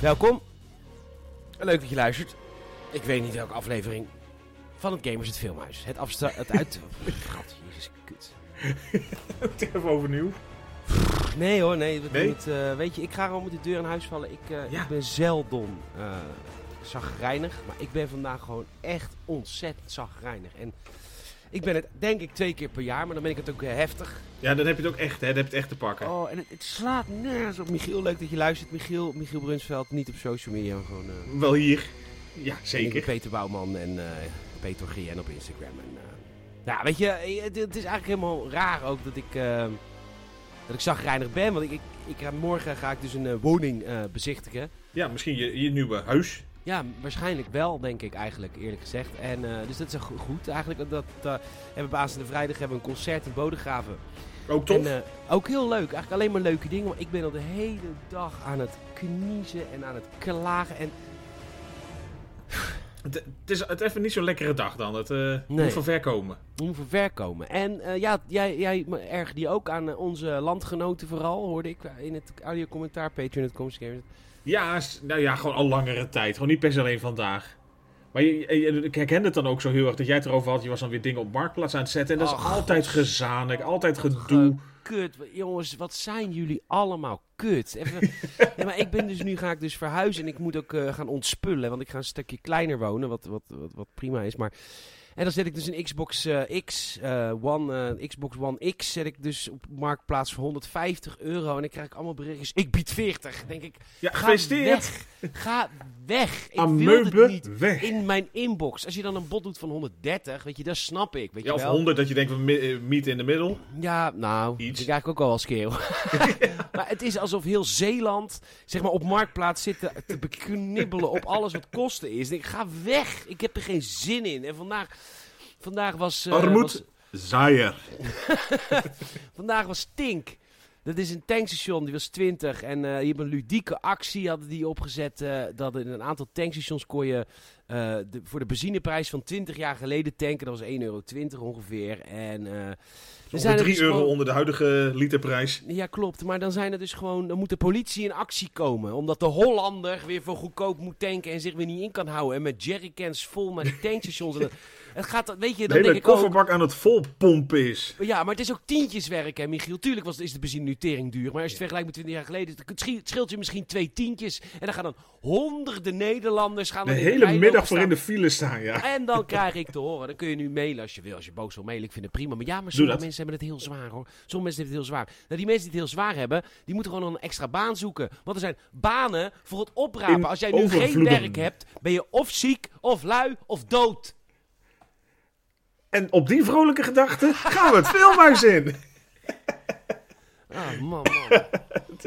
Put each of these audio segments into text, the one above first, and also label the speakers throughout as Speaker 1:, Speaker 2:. Speaker 1: Welkom. Leuk dat je luistert. Ik weet niet welke aflevering van het Gamers het Filmhuis. Het afstra... Het uit... God, jezus, kut.
Speaker 2: Even overnieuw.
Speaker 1: Nee hoor, nee. We doen
Speaker 2: Nee?
Speaker 1: het, eh, weet je, ik ga gewoon met de deur in huis vallen. Ik, eh,
Speaker 2: Ja.
Speaker 1: ik ben zeldom eh zagrijnig. Maar ik ben vandaag gewoon echt ontzettend zagrijnig. En ik ben het denk ik twee keer per jaar, maar dan ben ik het ook eh, heftig.
Speaker 2: Ja, dan heb je het ook echt, hè? Dan heb je het echt te pakken.
Speaker 1: Oh, en het, het slaat nergens op. Michiel, leuk dat je luistert. Michiel, Michiel Brunsveld, niet op social media, maar gewoon... eh,
Speaker 2: Wel hier. Ja,
Speaker 1: Ik ben
Speaker 2: zeker.
Speaker 1: Peter Bouwman en eh, Peter GN op Instagram. En, eh, ja, weet je, eh, het, het is eigenlijk helemaal raar ook dat ik, eh, dat ik zagrijnig ben. Want ik, ik, ik ga- morgen ga ik dus een eh, woning eh, bezichtigen.
Speaker 2: Ja, misschien je, je nieuwe huis.
Speaker 1: Ja, waarschijnlijk wel, denk ik eigenlijk, eerlijk gezegd. En, eh, dus dat is echt go- goed eigenlijk. Dat, eh hebben we aanstaande vrijdag hebben we een concert in Bodegraven.
Speaker 2: Ook tof.
Speaker 1: En eh, ook heel leuk. Eigenlijk alleen maar leuke dingen. Maar ik ben al de hele dag aan het kniezen en aan het klagen. En
Speaker 2: het, het is het even niet zo'n lekkere dag dan. Het eh,
Speaker 1: Nee.
Speaker 2: moet van ver komen.
Speaker 1: hoe we ver komen. En eh, ja, jij, jij erg die ook aan eh, onze landgenoten vooral, hoorde ik eh, in het audio-commentaar, Patreon.com. slash-
Speaker 2: Ja, s- nou ja, gewoon al langere tijd. Gewoon niet per se alleen vandaag. Maar je, je- je- ik herkende het dan ook zo heel erg dat jij het erover had. Je was dan weer dingen op marktplaats aan het zetten. En dat
Speaker 1: Oh,
Speaker 2: is altijd
Speaker 1: God.
Speaker 2: gezanik, altijd gedoe.
Speaker 1: Ge- Kut, Wat- jongens, wat zijn jullie allemaal kut. Even, ja, maar ik ben dus nu, ga ik dus verhuizen en ik moet ook eh, gaan ontspullen, want ik ga een stukje kleiner wonen, wat, wat, wat, wat prima is, maar... En dan zet ik dus een Xbox eh, X, eh, One, eh, Xbox One X, zet ik dus op marktplaats voor 150 euro en dan krijg ik allemaal berichtjes, ik bied 40, denk ik.
Speaker 2: Ja,
Speaker 1: Ga
Speaker 2: gefeliciteerd.
Speaker 1: weg. Ga weg. Ik wil het
Speaker 2: Ameuben
Speaker 1: niet
Speaker 2: weg.
Speaker 1: in mijn inbox. Als je dan een bod doet van 130, weet je, dat snap ik. Weet
Speaker 2: Ja,
Speaker 1: je
Speaker 2: of
Speaker 1: wel.
Speaker 2: 100 dat je denkt, we mi- eh, meet in de middel.
Speaker 1: Ja, nou, dat
Speaker 2: Iets.
Speaker 1: vind ik eigenlijk ook al wel schreeuw. maar het is alsof heel Zeeland, zeg maar, op marktplaats zit te, te beknibbelen op alles wat kosten is. Ik denk, ga weg. Ik heb er geen zin in. En vandaag, vandaag was... eh, was-
Speaker 2: Zaaier.
Speaker 1: Vandaag was Tink. Dat is een tankstation, die was 20. En eh je hebt een ludieke actie, hadden die opgezet. eh, dat in een aantal tankstations kon je eh, de, voor de benzineprijs van 20 jaar geleden tanken. Dat was 1,20 euro ongeveer. En, eh, dan zijn
Speaker 2: Ongeveer
Speaker 1: er
Speaker 2: 3
Speaker 1: dus
Speaker 2: euro
Speaker 1: gewoon-
Speaker 2: onder de huidige literprijs.
Speaker 1: Ja, klopt. Maar dan zijn er dus gewoon, dan moet de politie in actie komen. Omdat de Hollander weer voor goedkoop moet tanken en zich weer niet in kan houden. En met jerrycans vol naar die tankstations. en dat- het gaat, weet je,
Speaker 2: De
Speaker 1: dan denk
Speaker 2: hele
Speaker 1: ik ook...
Speaker 2: kofferbak aan het volpompen is.
Speaker 1: Ja, maar het is ook tientjeswerk, hè, Michiel. Tuurlijk was, is de benzine nu tering duur. Maar als je het vergelijkt met 20 jaar geleden, het schi- het scheelt je misschien twee tientjes. En dan gaan dan honderden Nederlanders gaan
Speaker 2: De
Speaker 1: dan in
Speaker 2: hele
Speaker 1: rij
Speaker 2: middag
Speaker 1: lopen
Speaker 2: voor
Speaker 1: staan.
Speaker 2: in de file staan, ja.
Speaker 1: En dan krijg ik te horen. Dan kun je nu mailen als je wil. Als je boos wil mailen, ik vind het prima. Maar ja, maar
Speaker 2: dat.
Speaker 1: sommige mensen hebben het heel zwaar hoor. Sommige mensen hebben het heel zwaar. Nou, die mensen die het heel zwaar hebben, die moeten gewoon een extra baan zoeken. Want er zijn banen voor het oprapen.
Speaker 2: In
Speaker 1: als jij nu geen
Speaker 2: overvloeden.
Speaker 1: werk hebt, ben je of ziek, of lui, of dood.
Speaker 2: En op die vrolijke gedachte gaan we het filmhuis in.
Speaker 1: Ah, man, man.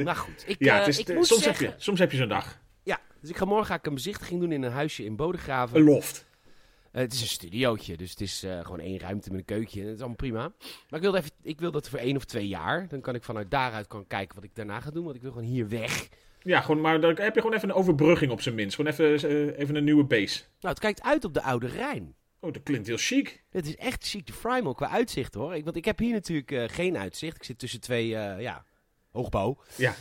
Speaker 1: nou goed, ik,
Speaker 2: Ja,
Speaker 1: eh,
Speaker 2: het is,
Speaker 1: ik
Speaker 2: eh,
Speaker 1: moet
Speaker 2: soms,
Speaker 1: zeggen...
Speaker 2: heb je, soms heb je zo'n dag.
Speaker 1: Ja, dus ik ga morgen ga ik een bezichtiging doen in een huisje in Bodegraven.
Speaker 2: Een loft.
Speaker 1: Eh, het is een studiootje, dus het is eh, gewoon één ruimte met een keukje. En dat is allemaal prima. Maar ik wil, even, ik wil dat voor één of twee jaar. Dan kan ik vanuit daaruit kan kijken wat ik daarna ga doen. Want ik wil gewoon hier weg.
Speaker 2: Ja, gewoon, maar dan heb je gewoon even een overbrugging op zijn minst. Gewoon even, eh, even een nieuwe base.
Speaker 1: Nou, het kijkt uit op de Oude Rijn.
Speaker 2: Oh, dat klinkt heel chic.
Speaker 1: Het is echt chic de Frymal qua uitzicht hoor. Ik, want ik heb hier natuurlijk eh, geen uitzicht. Ik zit tussen twee, eh, ja, hoogbouw.
Speaker 2: Ja.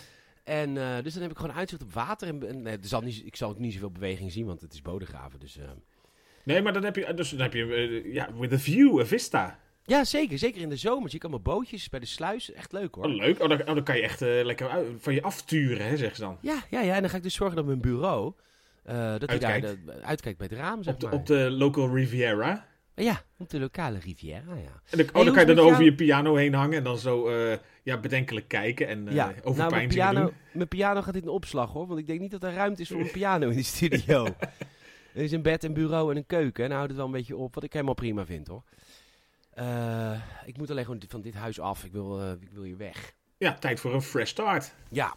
Speaker 1: En eh, dus dan heb ik gewoon uitzicht op water. En, en, eh, er zal niet, ik zal ook niet zoveel beweging zien, want het is bodegraven. Dus, eh,
Speaker 2: Nee, maar dan heb je, dus dan heb je eh, ja, with a view, a vista.
Speaker 1: Ja, zeker. Zeker in de zomer. Zie ik allemaal bootjes bij de sluis. Echt leuk hoor.
Speaker 2: Oh, leuk. Oh, dan, oh, dan kan je echt eh, lekker uit- van je afturen, hè, zeggen ze dan.
Speaker 1: Ja, ja, ja. En dan ga ik dus zorgen dat mijn bureau. eh, dat hij daar
Speaker 2: Uitkijkt.
Speaker 1: de- uitkijkt bij het raam, zeg
Speaker 2: Op de,
Speaker 1: maar.
Speaker 2: op de local Riviera.
Speaker 1: Ja, op de lokale Riviera, ja.
Speaker 2: En dan,
Speaker 1: hoe
Speaker 2: oh, dan
Speaker 1: is
Speaker 2: kan je
Speaker 1: het
Speaker 2: dan
Speaker 1: met
Speaker 2: over
Speaker 1: jou?
Speaker 2: je piano heen hangen en dan zo eh, ja, bedenkelijk kijken en eh
Speaker 1: ja. nou, mijn
Speaker 2: overpijnzingen
Speaker 1: piano,
Speaker 2: doen.
Speaker 1: mijn piano gaat in de opslag, hoor. Want ik denk niet dat er ruimte is voor een piano in de studio. er is een bed, een bureau en een keuken. En dan houdt het wel een beetje op, wat ik helemaal prima vind, hoor. Eh, ik moet alleen gewoon van dit huis af. Ik wil, eh, ik wil hier weg.
Speaker 2: Ja, tijd voor een fresh start.
Speaker 1: Ja.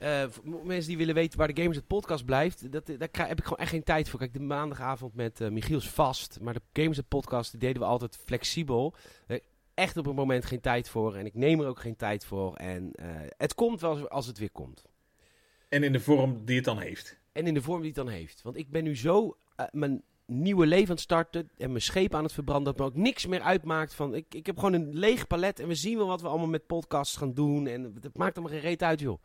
Speaker 1: Eh, voor m- mensen die willen weten waar de Gamers het podcast blijft, dat, daar krijg- heb ik gewoon echt geen tijd voor. Kijk, de maandagavond met eh Michiels vast, maar de Gamers het podcast die deden we altijd flexibel. Eh, echt op een moment geen tijd voor en ik neem er ook geen tijd voor. En eh, het komt wel als- als het weer komt.
Speaker 2: En in de vorm die het dan heeft. Ah,
Speaker 1: En in de vorm die het dan heeft. Want ik ben nu zo eh, mijn nieuwe leven aan het starten en mijn scheep aan het verbranden. Dat me ook niks meer uitmaakt van. Ik, ik heb gewoon een leeg palet en we zien wel wat we allemaal met podcasts gaan doen. En het maakt allemaal geen reet uit, joh.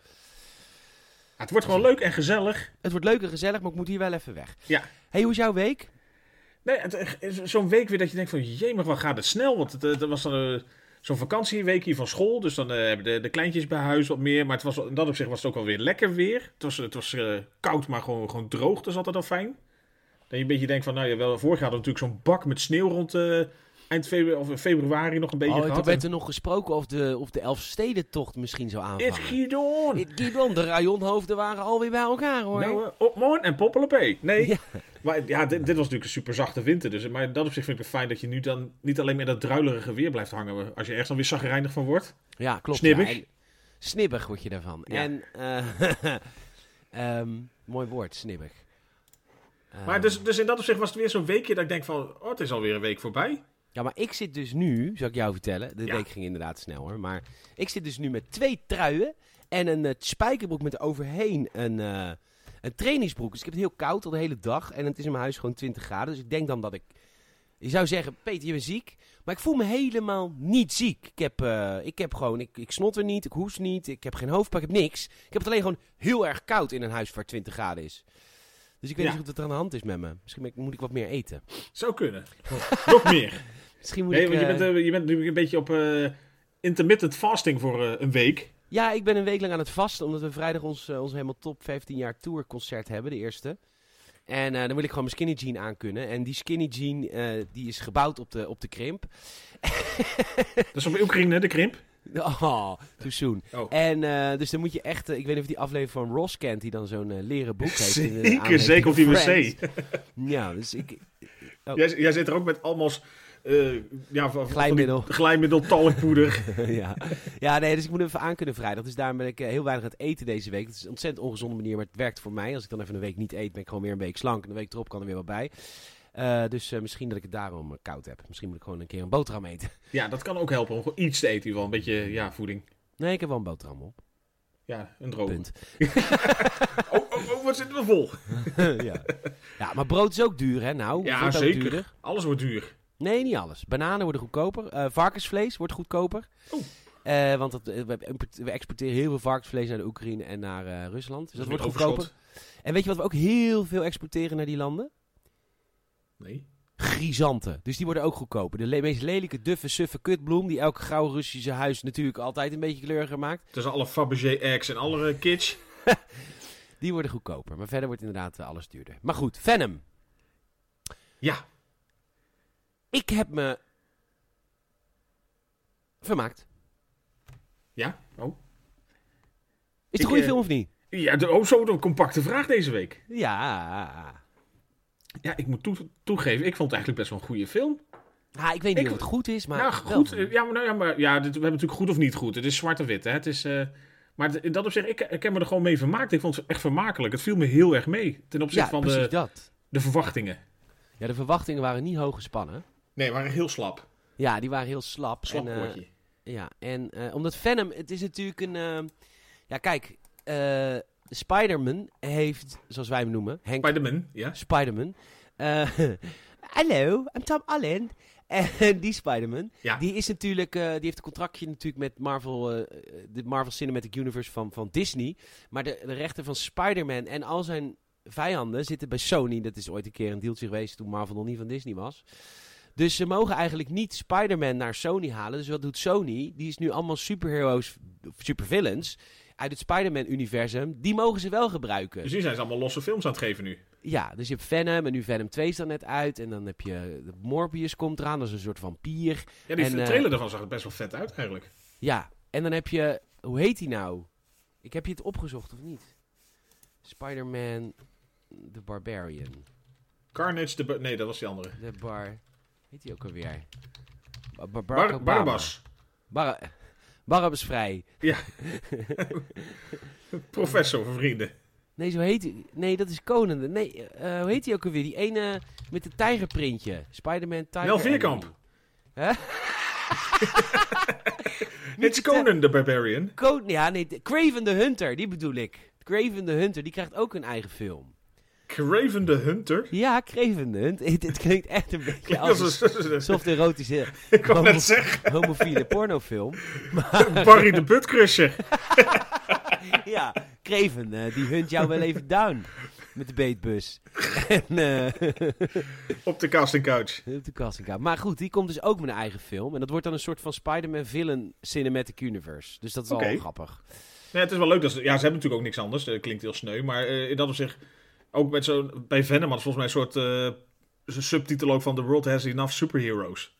Speaker 2: Ah, het wordt gewoon leuk en gezellig.
Speaker 1: Het wordt leuk en gezellig, maar ik moet hier wel even weg.
Speaker 2: Ja.
Speaker 1: hey, hoe is jouw week?
Speaker 2: Nee, het- eh, zo- zo'n week weer dat je denkt van, jee, maar wat gaat het snel? Want het, eh, dat was dan eh, zo'n vakantieweek hier van school. Dus dan eh, hebben de, de kleintjes bij huis wat meer. Maar het was, in dat opzicht was het ook wel weer lekker weer. Het was, het was eh, koud, maar gewoon, gewoon droog. Dat is altijd al fijn. Dat je een beetje denkt van, nou ja, wel, vorig jaar hadden we natuurlijk zo'n bak met sneeuw rond eh, eind februari, of februari nog een beetje
Speaker 1: Oh, toen
Speaker 2: gehad.
Speaker 1: werd er nog gesproken of de, of de Elfstedentocht misschien zou
Speaker 2: En Het
Speaker 1: aanvangen.
Speaker 2: Gideon!
Speaker 1: Het Gidon, de rajonhoofden waren alweer bij elkaar hoor.
Speaker 2: Nou, eh, op Moorn en Poppelepee. Nee,
Speaker 1: Ja.
Speaker 2: maar ja, dit, dit was natuurlijk een super zachte winter. Dus, maar in dat opzicht vind ik het fijn dat je nu dan niet alleen meer dat druilerige weer blijft hangen. Als je ergens dan weer zagrijnig van wordt.
Speaker 1: ja, klopt.
Speaker 2: snibbig.
Speaker 1: ja. En- snibbig word je daarvan.
Speaker 2: Ja.
Speaker 1: En, eh, ehm, mooi woord, snibbig.
Speaker 2: Maar
Speaker 1: Ehm,
Speaker 2: dus, dus in dat opzicht was het weer zo'n weekje dat ik denk van, oh, het is alweer een week voorbij.
Speaker 1: Ja, maar ik zit dus nu, zal ik jou vertellen. De
Speaker 2: Ja.
Speaker 1: week ging inderdaad snel hoor. Maar ik zit dus nu met twee truien en een eh, spijkerbroek met overheen een, eh, een trainingsbroek. Dus ik heb het heel koud al de hele dag. En het is in mijn huis gewoon 20 graden. Dus ik denk dan dat ik. Je zou zeggen, Peter, je bent ziek. Maar ik voel me helemaal niet ziek. Ik heb, eh, ik heb gewoon, ik, ik snot er niet, ik hoes niet, ik heb geen hoofdpijn, ik heb niks. Ik heb het alleen gewoon heel erg koud in een huis waar 20 graden is. Dus ik weet
Speaker 2: Ja.
Speaker 1: niet goed wat er aan de hand is met me. Misschien ben ik- moet ik wat meer eten.
Speaker 2: Zou kunnen. Nog meer.
Speaker 1: Misschien moet
Speaker 2: Nee,
Speaker 1: ik...
Speaker 2: want je
Speaker 1: eh,
Speaker 2: bent, eh, je bent nu een beetje op eh, intermittent fasting voor eh, een week.
Speaker 1: Ja, ik ben een week lang aan het vasten, omdat we vrijdag ons, eh, ons helemaal top 15 jaar tourconcert hebben, de eerste. En eh, dan wil ik gewoon mijn skinny jean aankunnen. En die skinny jean, eh, die is gebouwd op de, op de krimp.
Speaker 2: Dat is op Oekraïne, de krimp.
Speaker 1: Oh, too soon.
Speaker 2: Oh.
Speaker 1: En eh, dus dan moet je echt, eh, ik weet niet of je die aflevering van Ross kent, die dan zo'n eh, leren boek heeft. in de
Speaker 2: Zeker,
Speaker 1: aanleiding
Speaker 2: zeker op die
Speaker 1: van
Speaker 2: wc.
Speaker 1: Friends. Ja, dus ik, Oh.
Speaker 2: Jij, jij zit er ook met almost... eh, ja, van- van die
Speaker 1: Glijmiddel.
Speaker 2: Glijmiddel, talkpoeder.
Speaker 1: ja. ja, nee, dus ik moet even aankunnen vrijdag. Dus daarom ben ik eh, heel weinig aan het eten deze week. Het is een ontzettend ongezonde manier, maar het werkt voor mij. Als ik dan even een week niet eet, ben ik gewoon weer een week slank. En de week erop kan er weer wat bij. Eh, dus eh, misschien dat ik het daarom eh, koud heb. Misschien moet ik gewoon een keer een boterham eten.
Speaker 2: Ja, dat kan ook helpen om gewoon iets te eten. in ieder geval. Een beetje ja, voeding.
Speaker 1: Nee, ik heb wel een boterham op.
Speaker 2: Ja, een droom.
Speaker 1: Punt.
Speaker 2: Oh, oh, oh, wat zitten we vol?
Speaker 1: ja. ja, maar brood is ook duur, hè? Nou,
Speaker 2: Ja,
Speaker 1: wordt ook
Speaker 2: zeker.
Speaker 1: duurder.
Speaker 2: Alles wordt duur.
Speaker 1: Nee, niet alles. Bananen worden goedkoper. eh, varkensvlees wordt goedkoper.
Speaker 2: Oeh.
Speaker 1: Eh, want dat, eh, we import- we exporteren heel veel varkensvlees naar de Oekraïne en naar eh, Rusland. Dus dat
Speaker 2: Met
Speaker 1: wordt
Speaker 2: overschot.
Speaker 1: goedkoper. En weet je wat we ook heel veel exporteren naar die landen?
Speaker 2: Nee.
Speaker 1: Grisanten. Dus die worden ook goedkoper. De le- meest lelijke, duffe, suffe kutbloem die elk grauw Russische huis natuurlijk altijd een beetje kleuriger maakt.
Speaker 2: Tussen alle Fabergé eggs en alle eh, kitsch.
Speaker 1: Die worden goedkoper. Maar verder wordt inderdaad eh, alles duurder. Maar goed, Venom.
Speaker 2: Ja,
Speaker 1: Ik heb me vermaakt.
Speaker 2: ja. Oh.
Speaker 1: Is het
Speaker 2: Ik,
Speaker 1: een goede
Speaker 2: eh,
Speaker 1: film of niet?
Speaker 2: Ja, de, oh, zo een compacte vraag deze week.
Speaker 1: Ja.
Speaker 2: Ja, ik moet toe- toegeven, ik vond het eigenlijk best wel een goede film.
Speaker 1: Ah, ik weet niet
Speaker 2: Ik-
Speaker 1: of het goed is, maar...
Speaker 2: nou,
Speaker 1: wel
Speaker 2: goed.
Speaker 1: goed.
Speaker 2: eh, Ja, maar, nou, ja, maar ja, dit- we hebben natuurlijk goed of niet goed. Het is zwart en wit, hè. Het is, eh, maar het- in dat opzicht, ik, ik heb me er gewoon mee vermaakt. Ik vond het echt vermakelijk. Het viel me heel erg mee ten opzichte
Speaker 1: ja,
Speaker 2: van
Speaker 1: precies
Speaker 2: de,
Speaker 1: dat.
Speaker 2: de verwachtingen.
Speaker 1: Ja, de verwachtingen waren niet hoog gespannen.
Speaker 2: Nee, maar heel slap.
Speaker 1: Ja, die waren heel slap.
Speaker 2: Slap
Speaker 1: en, eh,
Speaker 2: woordje.
Speaker 1: Ja, en eh, omdat Venom, het is natuurlijk een... eh, ja, kijk, eh Spider-Man heeft, zoals wij hem noemen, Henk
Speaker 2: Spider-Man, ja.
Speaker 1: Spider-Man. eh, Hallo, I'm Tom Allen. En die Spider-Man,
Speaker 2: Ja.
Speaker 1: die is natuurlijk, eh, die heeft een contractje natuurlijk met Marvel, eh, de Marvel Cinematic Universe van, van Disney. Maar de, de rechten van Spider-Man en al zijn vijanden zitten bij Sony. Dat is ooit een keer een deeltje geweest toen Marvel nog niet van Disney was. Dus ze mogen eigenlijk niet Spider-Man naar Sony halen. Dus wat doet Sony? Die is nu allemaal superheroes, of supervillains uit het Spider-Man-universum. Die mogen ze wel gebruiken.
Speaker 2: Dus nu zijn ze allemaal losse films aan het geven nu.
Speaker 1: Ja, dus je hebt Venom en nu Venom 2 is dan net uit. En dan heb je de Morbius komt eraan, dat is een soort vampier.
Speaker 2: Ja, die
Speaker 1: En, eh,
Speaker 2: trailer ervan zag er best wel vet uit eigenlijk.
Speaker 1: Ja, en dan heb je, hoe heet die nou? Ik heb je het opgezocht of niet? Spider-Man, The Barbarian.
Speaker 2: Carnage de... Ba- Nee, dat was die andere.
Speaker 1: The Bar, heet die ook alweer? Ba- Ba- Barack
Speaker 2: Bar
Speaker 1: Obama.
Speaker 2: Barabbas.
Speaker 1: Bar Barabbas Vrij.
Speaker 2: Professor voor vrienden.
Speaker 1: Nee, zo heet die. Nee, dat is Conan. Nee, eh, hoe heet die ook alweer? Die ene met het tijgerprintje. Spider-Man Tiger.
Speaker 2: Nel Vierkamp.
Speaker 1: Enemy. Hè?
Speaker 2: Het is Conan the Barbarian.
Speaker 1: Code, ja, nee, de- Craven the Hunter, die bedoel ik. Craven the Hunter, die krijgt ook een eigen film.
Speaker 2: Craven the Hunter.
Speaker 1: Ja, Craven the Hunter. Het, het klinkt echt een beetje als een
Speaker 2: Dat is-
Speaker 1: soft erotische
Speaker 2: ik wou
Speaker 1: homo-
Speaker 2: net zeggen,
Speaker 1: homofiele pornofilm.
Speaker 2: Barry de Butcrusher.
Speaker 1: ja,
Speaker 3: Kreven, eh, die hunt jou wel even down met de beetbus. en, eh,
Speaker 2: Op de casting couch.
Speaker 3: Op de castingkamer.
Speaker 1: Maar goed, die komt dus ook met een eigen film. En dat wordt dan een soort van Spider-Man villain cinematic universe. Dus dat is
Speaker 2: Oké.
Speaker 1: wel grappig.
Speaker 2: Ja, het is wel leuk dat ze. Ja, ze hebben natuurlijk ook niks anders. eh, klinkt heel sneu. Maar eh, in dat opzicht. Ook met zo'n. Bij Venom had volgens mij een soort. eh, zo'n subtitel ook van The World Has Enough Superheroes.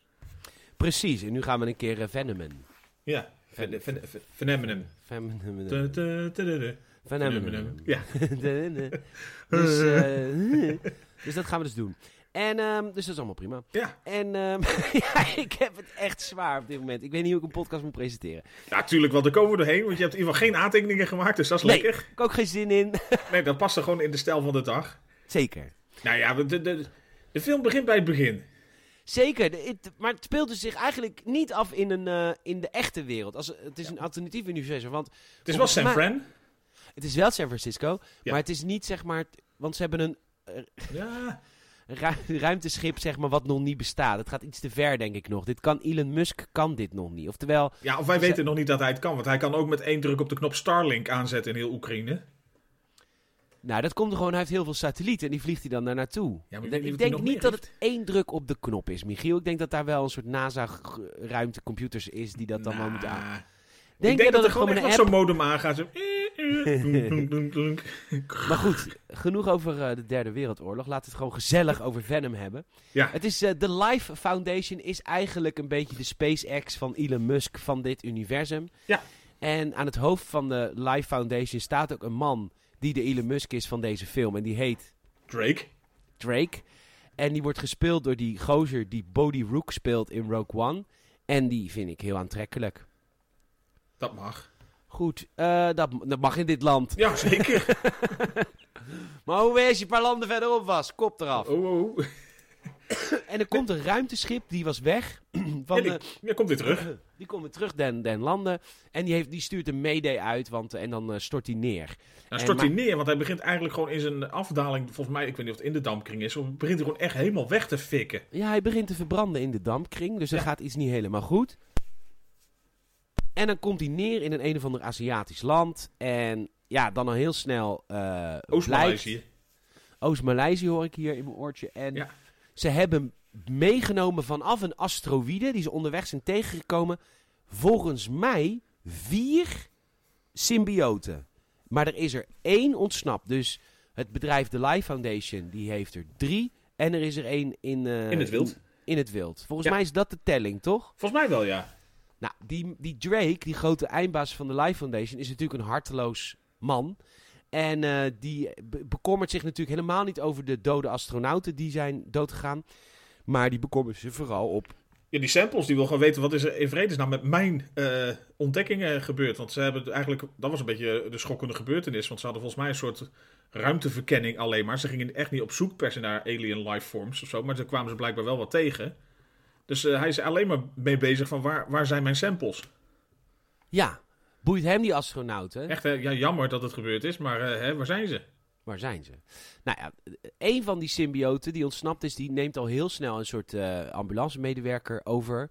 Speaker 1: Precies, en nu gaan we een keer eh, Venomen.
Speaker 2: Ja. Ven- ven- ven- Phenomenon.
Speaker 1: Venomen.
Speaker 2: Tu- tu- tu- tu- tu.
Speaker 1: Venomen.
Speaker 2: Ja.
Speaker 1: dus, eh, dus dat gaan we dus doen. En ehm, dus dat is allemaal prima.
Speaker 2: Ja.
Speaker 1: En ehm, ja, ik heb het echt zwaar op dit moment. Ik weet niet hoe ik een podcast moet presenteren.
Speaker 2: Ja, tuurlijk, want daar komen we doorheen. Want je hebt in ieder geval geen aantekeningen gemaakt. Dus dat is
Speaker 1: Nee.
Speaker 2: lekker.
Speaker 1: Ik heb ook geen zin in.
Speaker 2: Nee, dat past er gewoon in de stijl van de dag.
Speaker 1: Zeker.
Speaker 2: Nou ja, de, de, de film begint bij het begin.
Speaker 1: Zeker, de- het- maar het speelt dus zich eigenlijk niet af in, een, eh, in de echte wereld. Als, het is een alternatief universum, want
Speaker 2: Het is wel
Speaker 1: Volgens
Speaker 2: San
Speaker 1: mij-
Speaker 2: Fran.
Speaker 1: het is wel San Francisco,
Speaker 2: Ja.
Speaker 1: maar het is niet zeg maar... t- Want ze hebben een
Speaker 2: Ja.
Speaker 1: ru- ruimteschip zeg maar wat nog niet bestaat. Het gaat iets te ver denk ik nog. Dit kan Elon Musk kan dit nog niet. Oftewel,
Speaker 2: ja, of wij weten nog niet dat hij het kan. Want hij kan ook met één druk op de knop Starlink aanzetten in heel Oekraïne.
Speaker 1: nou dat komt er gewoon, hij heeft heel veel satellieten en die vliegt hij dan daar naartoe.
Speaker 2: Ja, maar ik
Speaker 1: ik
Speaker 2: weet niet
Speaker 1: denk,
Speaker 2: of hij nog
Speaker 1: niet
Speaker 2: meer
Speaker 1: dat
Speaker 2: heeft.
Speaker 1: het één druk op de knop is, Michiel. Ik denk dat daar wel een soort NASA g- ruimtecomputers is die dat dan wel moeten aan.
Speaker 2: Nou,
Speaker 1: Denk,
Speaker 2: ik denk
Speaker 1: je
Speaker 2: dat,
Speaker 1: dat
Speaker 2: er gewoon echt
Speaker 1: een
Speaker 2: nog
Speaker 1: app
Speaker 2: zo'n modem aangaat. Zo... Doenk, doenk, doenk, doenk.
Speaker 1: Maar goed, genoeg over eh, de Derde Wereldoorlog. Laten we het gewoon gezellig over Venom hebben.
Speaker 2: Ja.
Speaker 1: Het is, eh, de Life Foundation is eigenlijk een beetje de SpaceX van Elon Musk van dit universum.
Speaker 2: Ja.
Speaker 1: En aan het hoofd van de Life Foundation staat ook een man die de Elon Musk is van deze film. En die heet
Speaker 2: Drake.
Speaker 1: Drake. En die wordt gespeeld door die gozer die Bodhi Rook speelt in Rogue One. En die vind ik heel aantrekkelijk.
Speaker 2: Dat mag.
Speaker 1: Goed, eh, dat, dat mag in dit land.
Speaker 2: Ja, zeker.
Speaker 1: Maar hoe wees je een paar landen verderop was? Kop eraf.
Speaker 2: Oh, oh.
Speaker 1: En er komt een ruimteschip, die was weg. Van,
Speaker 2: En
Speaker 1: eh,
Speaker 2: ik- ja, komt weer terug.
Speaker 1: die komt weer terug, den, den landen. En die, heeft, die stuurt een mayday uit, want, eh, en dan eh, stort hij neer.
Speaker 2: Dan
Speaker 1: En
Speaker 2: stort hij
Speaker 1: maar-
Speaker 2: neer, want hij begint eigenlijk gewoon in zijn afdaling. Volgens mij, ik weet niet of het in de dampkring is. Of begint hij gewoon echt helemaal weg te fikken.
Speaker 1: Ja, hij begint te verbranden in de dampkring, dus er
Speaker 2: Ja.
Speaker 1: gaat iets niet helemaal goed. En dan komt hij neer in een een of ander Aziatisch land. En ja, dan al heel snel eh blijkt-
Speaker 2: Oost-Maleisië.
Speaker 1: Oost-Maleisië hoor ik hier in mijn oortje. En
Speaker 2: Ja.
Speaker 1: ze hebben meegenomen vanaf een asteroïde die ze onderweg zijn tegengekomen. Volgens mij vier symbioten. Maar er is er één ontsnapt. Dus het bedrijf The Life Foundation die heeft er drie. En er is er één in, eh,
Speaker 2: In het wild.
Speaker 1: In, in het wild. Volgens
Speaker 2: Ja.
Speaker 1: mij is dat de telling, toch?
Speaker 2: Volgens mij wel, ja.
Speaker 1: Nou, die, die Drake, die grote eindbaas van de Life Foundation, is natuurlijk een harteloos man. En eh, die be- bekommert zich natuurlijk helemaal niet over de dode astronauten die zijn doodgegaan. Maar die bekommert zich vooral op.
Speaker 2: Ja, die samples, die wil gewoon weten wat is er in vredesnaam met mijn eh, ontdekkingen gebeurd. Want ze hebben eigenlijk, dat was een beetje de schokkende gebeurtenis. Want ze hadden volgens mij een soort ruimteverkenning alleen maar. Ze gingen echt niet op zoek per se naar alien lifeforms of zo. Maar daar kwamen ze blijkbaar wel wat tegen. Dus eh, hij is alleen maar mee bezig van waar, waar zijn mijn samples.
Speaker 1: Ja, boeit hem die astronauten?
Speaker 2: Echt, hè? Ja, jammer dat het gebeurd is, maar eh, hè, waar zijn ze?
Speaker 1: Waar zijn ze? Nou ja, een van die symbioten die ontsnapt is, die neemt al heel snel een soort eh ambulancemedewerker over.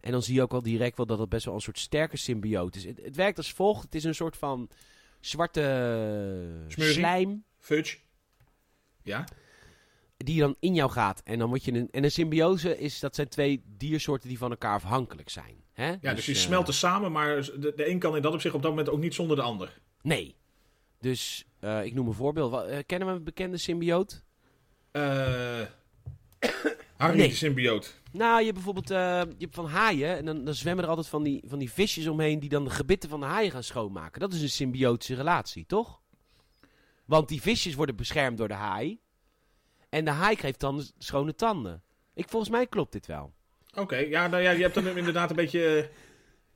Speaker 1: En dan zie je ook al direct wel dat het best wel een soort sterke symbioot is. Het, het werkt als volgt. Het is een soort van zwarte
Speaker 2: Smurrie.
Speaker 1: slijm
Speaker 2: Fudge. Ja?
Speaker 1: die dan in jou gaat. En dan word je een. En een symbiose is dat zijn twee diersoorten die van elkaar afhankelijk zijn. Hè?
Speaker 2: Ja, dus die
Speaker 1: eh,
Speaker 2: smelten samen, maar de, de een kan in dat opzicht op dat moment ook niet zonder de ander.
Speaker 1: Nee. Dus eh, ik noem een voorbeeld. Wa- eh, kennen we een bekende symbioot?
Speaker 2: Eh Harry
Speaker 1: Nee.
Speaker 2: de symbioot.
Speaker 1: Nou, je hebt bijvoorbeeld eh, je hebt van haaien. En dan, dan zwemmen er altijd van die, van die visjes omheen. die dan de gebitten van de haaien gaan schoonmaken. Dat is een symbiotische relatie, toch? Want die visjes worden beschermd door de haai. En de haai krijgt dan schone tanden. Ik, volgens mij klopt dit wel.
Speaker 2: Oké, ja, nou ja, je hebt dan inderdaad een beetje... eh,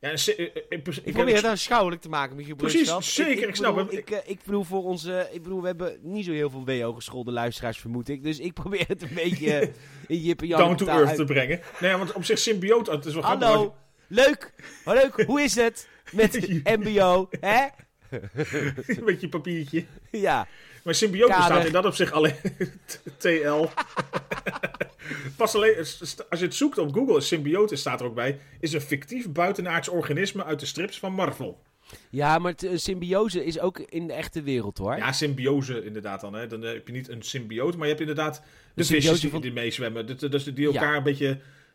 Speaker 2: Ja, een, sy- eh, eh, in principe-
Speaker 1: Ik probeer het aanschouwelijk te maken, Michiel
Speaker 2: Precies,
Speaker 1: Brunsveld.
Speaker 2: zeker, ik snap
Speaker 1: bedoel,
Speaker 2: het.
Speaker 1: Ik, eh, ik bedoel, voor onze, ik bedoel, we hebben niet zo heel veel WO-geschoolde luisteraars, vermoed ik. Dus ik probeer het een beetje eh, in jip en Jan
Speaker 2: down to earth te brengen. Nee, ja, want op zich symbioot, het is wel grappig.
Speaker 1: Hallo, leuk, leuk, hoe is het met mbo, hè?
Speaker 2: want je- Een beetje papiertje.
Speaker 1: Ja,
Speaker 2: Maar symbioot
Speaker 1: Kader.
Speaker 2: bestaat in dat opzicht alleen... T- TL. Pas alleen, als je het zoekt op Google, symbioot staat er ook bij, is een fictief buitenaards organisme uit de strips van Marvel.
Speaker 1: Ja, maar het, eh, symbiose is ook in de echte wereld hoor.
Speaker 2: Ja, symbiose inderdaad dan. Hè. Dan eh, heb je niet een symbioot, maar je hebt inderdaad de
Speaker 1: Een
Speaker 2: visjes
Speaker 1: symbiose
Speaker 2: die,
Speaker 1: van-
Speaker 2: die meezwemmen. Dat, dat is de- die elkaar een beetje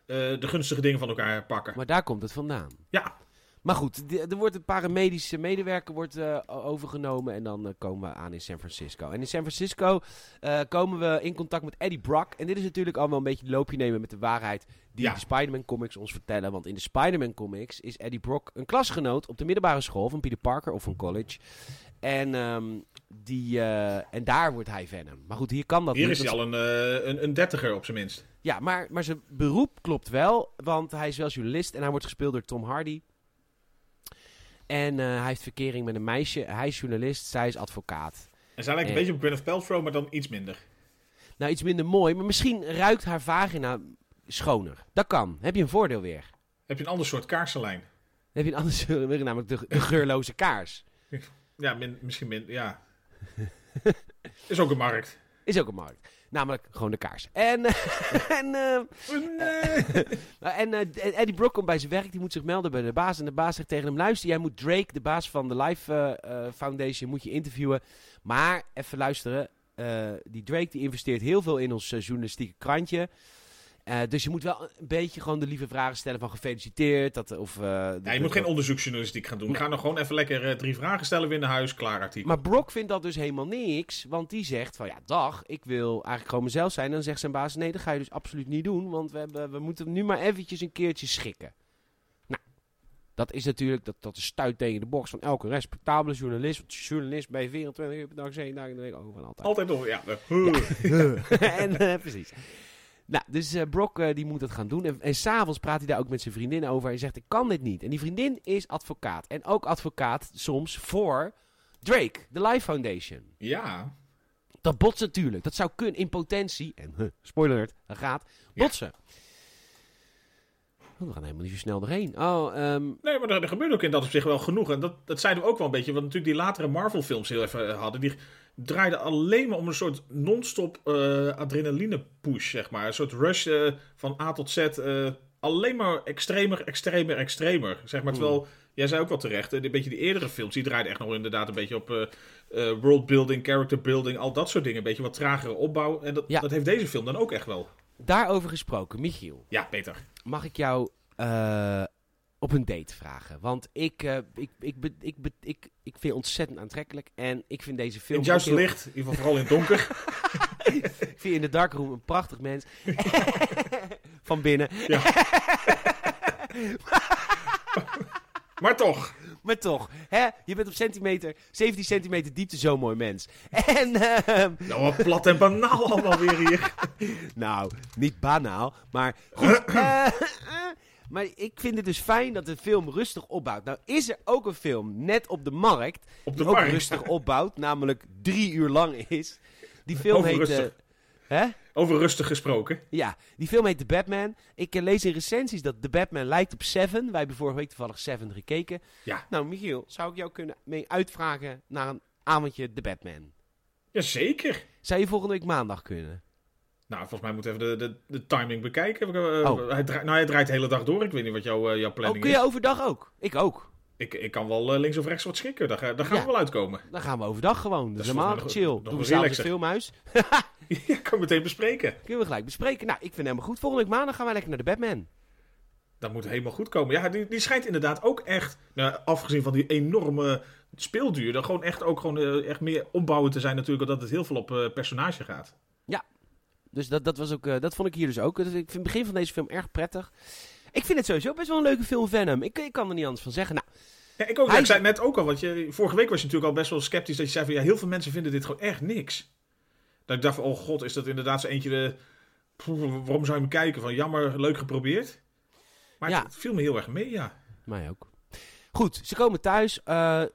Speaker 2: eh, de gunstige dingen van elkaar pakken.
Speaker 1: Maar daar komt het vandaan.
Speaker 2: Ja,
Speaker 1: Maar goed, de- er wordt een paramedische medewerker wordt, eh, o- overgenomen en dan eh, komen we aan in San Francisco. En in San Francisco eh, komen we in contact met Eddie Brock. En dit is natuurlijk allemaal een beetje loopje nemen met de waarheid die
Speaker 2: Ja.
Speaker 1: de Spider-Man comics ons vertellen. Want in de Spider-Man comics is Eddie Brock een klasgenoot op de middelbare school van Peter Parker of van college. En, ehm, die, eh, en daar wordt hij Venom. Maar goed, hier kan dat
Speaker 2: hier
Speaker 1: niet.
Speaker 2: is hij
Speaker 1: want-
Speaker 2: al een, eh, een, een dertiger op zijn minst.
Speaker 1: ja, maar, maar zijn beroep klopt wel, want hij is wel journalist en hij wordt gespeeld door Tom Hardy. En eh, hij heeft verkering met een meisje. Hij is journalist, zij is advocaat.
Speaker 2: En zij lijkt een
Speaker 1: Eh.
Speaker 2: beetje op Gwyneth Paltrow, maar dan iets minder.
Speaker 1: Nou, iets minder mooi, maar misschien ruikt haar vagina schoner. Dat kan. Heb je een voordeel weer.
Speaker 2: Heb je een ander soort kaarsenlijn?
Speaker 1: Dan heb je een ander voordeel weer, namelijk de, de geurloze kaars.
Speaker 2: Ja, min- misschien minder. Ja. is ook een markt.
Speaker 1: Is ook een markt. Namelijk gewoon de kaars. En, en eh,
Speaker 2: Oh, Nee.
Speaker 1: Nou, En eh, Eddie Brock komt bij zijn werk, die moet zich melden bij de baas. En de baas zegt tegen hem: luister, jij moet Drake, de baas van de Life eh, eh, Foundation, moet je interviewen. Maar even luisteren. eh, die Drake die investeert heel veel in ons eh, journalistieke krantje. Eh, dus je moet wel een beetje gewoon de lieve vragen stellen van gefeliciteerd. Dat, of, eh, dat-
Speaker 2: Ja, je moet geen onderzoeksjournalistiek gaan doen. Ga nou gewoon even lekker eh, drie vragen stellen weer in huis. Klaar artikel.
Speaker 1: Maar Brock vindt dat dus helemaal niks. Want die zegt van ja, dag, ik wil eigenlijk gewoon mezelf zijn. En dan zegt zijn baas: nee, dat ga je dus absoluut niet doen. Want we, hebben, we moeten nu maar eventjes een keertje schikken. Nou, dat is natuurlijk dat, dat is stuit tegen de box van elke respectabele journalist. Want journalist bij 24 uur per dag, 7 dagen in de week, overal altijd.
Speaker 2: Altijd nog. Ja. eh,
Speaker 1: en eh, precies. Nou, dus eh, Brock eh, die moet dat gaan doen. En, en s'avonds praat hij daar ook met zijn vriendin over. Hij zegt, ik kan dit niet. En die vriendin is advocaat. En ook advocaat soms voor Drake, de Life Foundation.
Speaker 2: ja.
Speaker 1: Dat botst natuurlijk. Dat zou kunnen in potentie. En huh, spoiler alert, dat gaat
Speaker 2: Ja.
Speaker 1: botsen. Oh, we gaan helemaal niet zo snel doorheen. Oh, ehm,
Speaker 2: Nee, maar er, er gebeurt ook in dat op zich wel genoeg. En dat, dat zeiden we ook wel een beetje. Want natuurlijk die latere Marvel-films heel even eh, hadden. Die draaiden alleen maar om een soort non-stop eh, adrenaline-push, zeg maar. Een soort rush eh, van A tot Z. eh, alleen maar extremer, extremer, extremer. Zeg maar, terwijl... Jij zei ook wel terecht, eh, een beetje die eerdere films, die draaiden echt nog inderdaad een beetje op eh eh, worldbuilding, characterbuilding, al dat soort dingen. Een beetje wat tragere opbouw. En dat,
Speaker 1: Ja.
Speaker 2: dat heeft deze film dan ook echt wel.
Speaker 1: daarover gesproken, Michiel.
Speaker 2: Ja, Peter.
Speaker 1: Mag ik jou eh, op een date vragen? Want ik, eh, ik, ik, be- ik, be- ik, ik vind het ontzettend aantrekkelijk. En ik vind deze
Speaker 2: In
Speaker 1: film...
Speaker 2: het juiste
Speaker 1: ook heel-
Speaker 2: licht, in ieder geval vooral in het donker.
Speaker 1: Ik vind in de darkroom een prachtig mens. Van binnen.
Speaker 2: maar toch.
Speaker 1: Maar toch, hè? je bent op centimeter, 17 centimeter diepte zo'n mooi mens. En... ehm,
Speaker 2: Nou, wat plat en banaal allemaal weer hier.
Speaker 1: Nou, niet banaal, maar goed. eh, eh, maar ik vind het dus fijn dat de film rustig opbouwt. Nou is er ook een film net op de markt
Speaker 2: Op de
Speaker 1: die ook
Speaker 2: markt.
Speaker 1: rustig opbouwt, namelijk drie uur lang is. Die film
Speaker 2: Over
Speaker 1: heet... eh,
Speaker 2: rustig.
Speaker 1: hè?
Speaker 2: Over rustig gesproken.
Speaker 1: Ja, die film heet The Batman. Ik eh, lees in recensies dat The Batman lijkt op Seven. Wij hebben vorige week toevallig Seven gekeken.
Speaker 2: Ja.
Speaker 1: Nou, Michiel, zou ik jou kunnen mee uitvragen naar een avondje The Batman?
Speaker 2: Jazeker.
Speaker 1: Zou je volgende week maandag kunnen?
Speaker 2: Nou, volgens mij moeten we even de, de, de timing bekijken. Ik, eh,
Speaker 1: Oh.
Speaker 2: hij, draait, nou, hij draait de hele dag door. Ik weet niet wat jouw eh, jouw
Speaker 1: Oh,
Speaker 2: planning
Speaker 1: kun
Speaker 2: is.
Speaker 1: je overdag ook? Ik ook.
Speaker 2: Ik, ik kan wel eh, links of rechts wat schikken. Daar, ga- daar gaan
Speaker 1: Ja.
Speaker 2: we wel uitkomen.
Speaker 1: Dan gaan we overdag gewoon. Dat is
Speaker 2: Dat is
Speaker 1: helemaal
Speaker 2: volgens mij nog-
Speaker 1: chill.
Speaker 2: nog
Speaker 1: Doen we s'avonds het
Speaker 2: relaxer.
Speaker 1: filmhuis.
Speaker 2: Ja, kan ik meteen bespreken.
Speaker 1: Kunnen we gelijk bespreken. Nou, ik vind het helemaal goed. Volgende week maandag gaan wij lekker naar de Batman.
Speaker 2: Dat moet helemaal goed komen. Ja, die, die schijnt inderdaad ook echt, nou, afgezien van die enorme speelduur, dan gewoon echt ook gewoon eh, echt meer opbouwen te zijn natuurlijk, omdat het heel veel op eh, personage gaat.
Speaker 1: Dus dat, dat, was ook, eh, dat vond ik hier dus ook. Dus ik vind het begin van deze film erg prettig. Ik vind het sowieso best wel een leuke film, Venom. Ik, ik kan er niet anders van zeggen. Nou,
Speaker 2: Ja, ik ook.
Speaker 1: Hij-
Speaker 2: Ik zei net ook al, want je, vorige week was je natuurlijk al best wel sceptisch dat je zei van ja, heel veel mensen vinden dit gewoon echt niks. Dat ik dacht van, oh god, is dat inderdaad zo eentje de... Pff, waarom zou je me kijken? Van jammer, leuk geprobeerd. Maar
Speaker 1: Ja.
Speaker 2: het viel me heel erg mee, ja.
Speaker 1: mij ook. Goed, ze komen thuis. Eh, eh,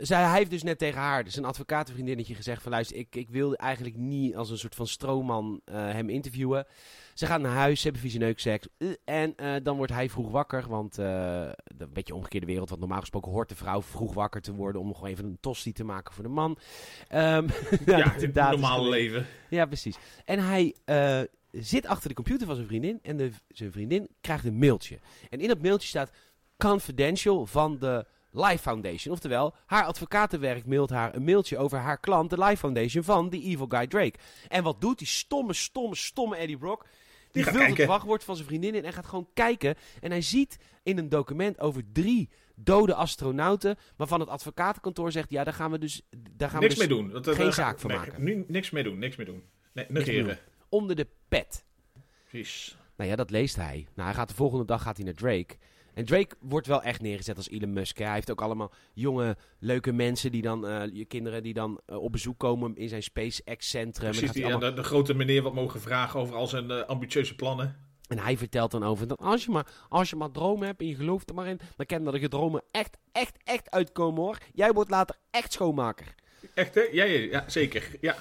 Speaker 1: zij, hij heeft dus net tegen haar, dus een advocatenvriendinnetje, gezegd van... Luister, ik, ik wilde eigenlijk niet als een soort van stroomman eh, hem interviewen. Ze gaan naar huis, ze hebben vieze neukseks. Eh, en eh, dan wordt hij vroeg wakker, want eh, een beetje omgekeerde wereld. Want normaal gesproken hoort de vrouw vroeg wakker te worden om gewoon even een tosti te maken voor de man. Ehm,
Speaker 2: Ja,
Speaker 1: dat
Speaker 2: het
Speaker 1: inderdaad is
Speaker 2: normale
Speaker 1: gewoon-
Speaker 2: leven.
Speaker 1: Ja, precies. En hij eh, zit achter de computer van zijn vriendin en de, zijn vriendin krijgt een mailtje. En in dat mailtje staat confidential van de Life Foundation. Oftewel, haar advocatenwerk mailt haar een mailtje over haar klant, de Life Foundation van die evil guy Drake. En wat doet die stomme, stomme, stomme Eddie Brock? Die,
Speaker 2: gaat
Speaker 1: vult
Speaker 2: kijken.
Speaker 1: het wachtwoord van zijn vriendin in en gaat gewoon kijken. En hij ziet in een document over drie dode astronauten, waarvan het advocatenkantoor zegt, ja, daar gaan we dus, daar gaan
Speaker 2: niks
Speaker 1: we dus
Speaker 2: mee doen. Dat,
Speaker 1: geen
Speaker 2: dat-
Speaker 1: zaak van
Speaker 2: nee,
Speaker 1: maken.
Speaker 2: Nu niks mee doen, niks mee doen. Nee, negeren.
Speaker 1: onder de pet.
Speaker 2: Precies.
Speaker 1: Nou ja, dat leest hij. Nou, hij gaat de volgende dag gaat hij naar Drake. En Drake wordt wel echt neergezet als Elon Musk. Hè. Hij heeft ook allemaal jonge, leuke mensen die dan, eh, je kinderen die dan eh, op bezoek komen in zijn SpaceX-centrum. En, gaat
Speaker 2: Precies,
Speaker 1: hij
Speaker 2: die, eh,
Speaker 1: allemaal-
Speaker 2: de, de grote meneer wat mogen vragen over al zijn eh, ambitieuze plannen.
Speaker 1: en hij vertelt dan over dat als je maar, als je maar dromen hebt en je gelooft er maar in, dan kan dat je dromen echt, echt, echt uitkomen hoor. Jij wordt later echt schoonmaker.
Speaker 2: Echt, hè? Ja, ja, ja zeker. Ja.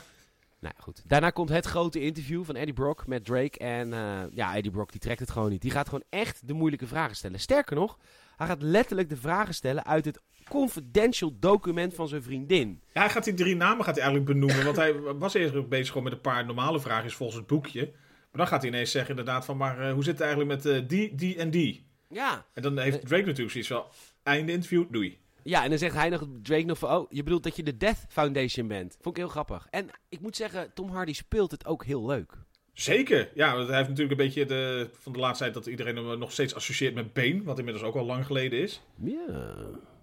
Speaker 1: Nou goed. Daarna komt het grote interview van Eddie Brock met Drake. En eh, ja, Eddie Brock die trekt het gewoon niet. Die gaat gewoon echt de moeilijke vragen stellen. Sterker nog, hij gaat letterlijk de vragen stellen uit het confidential document van zijn vriendin.
Speaker 2: Ja, hij gaat die drie namen gaat hij eigenlijk benoemen. Want hij was eerst bezig gewoon met een paar normale vragen volgens het boekje. Maar dan gaat hij ineens zeggen inderdaad van... maar eh, hoe zit het eigenlijk met eh, die, die en die?
Speaker 1: Ja.
Speaker 2: En dan heeft Drake natuurlijk zoiets van... einde interview, doei.
Speaker 1: Ja, en dan zegt hij nog, Drake nog van, oh, je bedoelt dat je de Death Foundation bent. Vond ik heel grappig. En ik moet zeggen, Tom Hardy speelt het ook heel leuk.
Speaker 2: Zeker, ja, want hij heeft natuurlijk een beetje de, van de laatste tijd... dat iedereen hem nog steeds associeert met Bane... wat inmiddels ook al lang geleden is.
Speaker 1: Ja.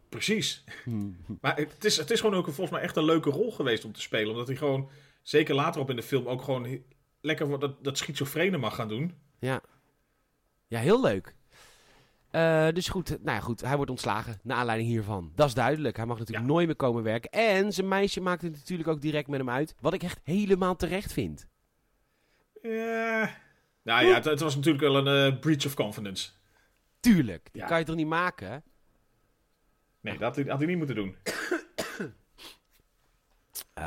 Speaker 2: Precies. Maar het is, het is gewoon ook een- volgens mij echt een leuke rol geweest om te spelen. Omdat hij gewoon, zeker later op in de film... ook gewoon he- lekker wat- dat, dat schizofrene mag gaan doen.
Speaker 1: Ja. Ja, heel leuk. Eh, dus goed, nou ja, goed, hij wordt ontslagen naar aanleiding hiervan. Dat is duidelijk. Hij mag natuurlijk nooit meer komen werken. En zijn meisje maakt het natuurlijk ook direct met hem uit. Wat ik echt helemaal terecht vind.
Speaker 2: Ja. Nou ja, het, het was natuurlijk wel een eh, breach of confidence.
Speaker 1: Tuurlijk, die
Speaker 2: Ja.
Speaker 1: kan je toch niet maken?
Speaker 2: Nee, dat had hij, had hij niet moeten doen.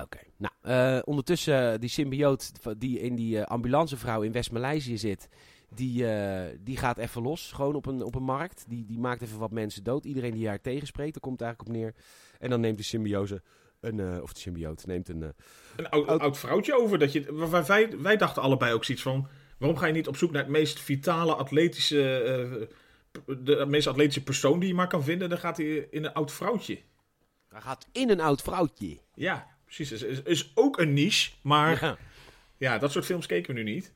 Speaker 1: Oké. Nou, eh, ondertussen eh, die symbioot van- die in die eh, ambulancevrouw in West-Maleisië zit... Die, eh, die gaat even los, gewoon op een, op een markt. Die, die maakt even wat mensen dood. Iedereen die haar tegenspreekt, daar komt het eigenlijk op neer. En dan neemt de symbiose een... eh, of de symbioot neemt een... eh,
Speaker 2: Een oud, oud vrouwtje over. Dat je, waar- waar wij, wij dachten allebei ook zoiets van... waarom ga je niet op zoek naar het meest vitale, atletische... eh, p- de meest atletische persoon die je maar kan vinden? Dan gaat hij in een oud vrouwtje.
Speaker 1: Hij gaat in een oud vrouwtje.
Speaker 2: Ja, precies. Is, is, is ook een niche, maar... Ja. dat soort films keken we nu niet.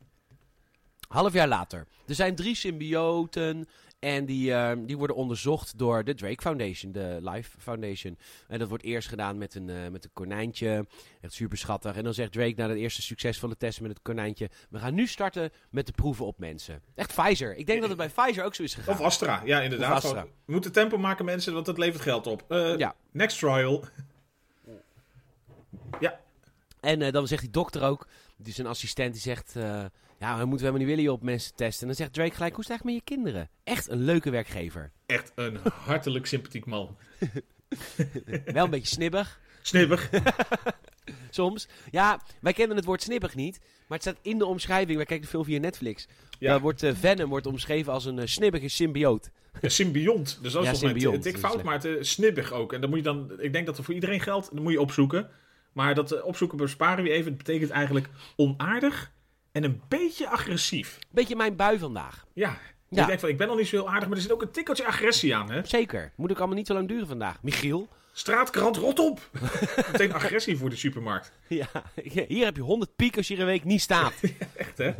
Speaker 1: Half jaar later. Er zijn drie symbioten. En die, ehm, die worden onderzocht door de Drake Foundation, de Life Foundation. En dat wordt eerst gedaan met een, eh, met een konijntje. Echt super schattig. En dan zegt Drake na het eerste succesvolle test met het konijntje: We gaan nu starten met de proeven op mensen. Echt Pfizer. Ik denk dat het bij Pfizer ook zo is gegaan.
Speaker 2: Of Astra, ja inderdaad.
Speaker 1: Of Astra.
Speaker 2: Gewoon, we moeten tempo maken mensen, want dat levert geld op. Eh,
Speaker 1: Ja.
Speaker 2: Next trial.
Speaker 1: En eh, dan zegt die dokter ook, die zijn assistent, die zegt... eh, ja, we moeten helemaal niet willen je op mensen testen. En dan zegt Drake gelijk, hoe is het eigenlijk met je kinderen? Echt een leuke werkgever.
Speaker 2: Echt een hartelijk sympathiek man.
Speaker 1: Wel een beetje snibbig.
Speaker 2: Snibbig.
Speaker 1: Soms. Ja, wij kennen het woord snippig niet. Maar het staat in de omschrijving. Wij kijken de film via Netflix.
Speaker 2: Ja.
Speaker 1: Daar wordt, eh, Venom wordt omschreven als een eh, snibbige symbioot.
Speaker 2: Ja, symbiont. Dus dat is
Speaker 1: Ja,
Speaker 2: volgens mij
Speaker 1: symbiont.
Speaker 2: een dik
Speaker 1: Dat is
Speaker 2: fout,
Speaker 1: slecht.
Speaker 2: maar het is snibbig ook. En dan moet je dan, ik denk dat er voor iedereen geldt, dan moet je opzoeken. Maar dat eh, opzoeken besparen we even. Het betekent eigenlijk onaardig en een beetje agressief.
Speaker 1: Beetje mijn bui vandaag.
Speaker 2: Ja.
Speaker 1: Ja.
Speaker 2: Ik denk van, ik ben al niet zo heel aardig, maar er zit ook een tikkeltje agressie aan, hè?
Speaker 1: Zeker. Moet ik allemaal niet zo lang duren vandaag. Michiel?
Speaker 2: Straatkrant, rot op! Meteen agressie voor de supermarkt.
Speaker 1: Ja, hier heb je 100 piek als je er een week niet staat.
Speaker 2: Echt, hè? Ja,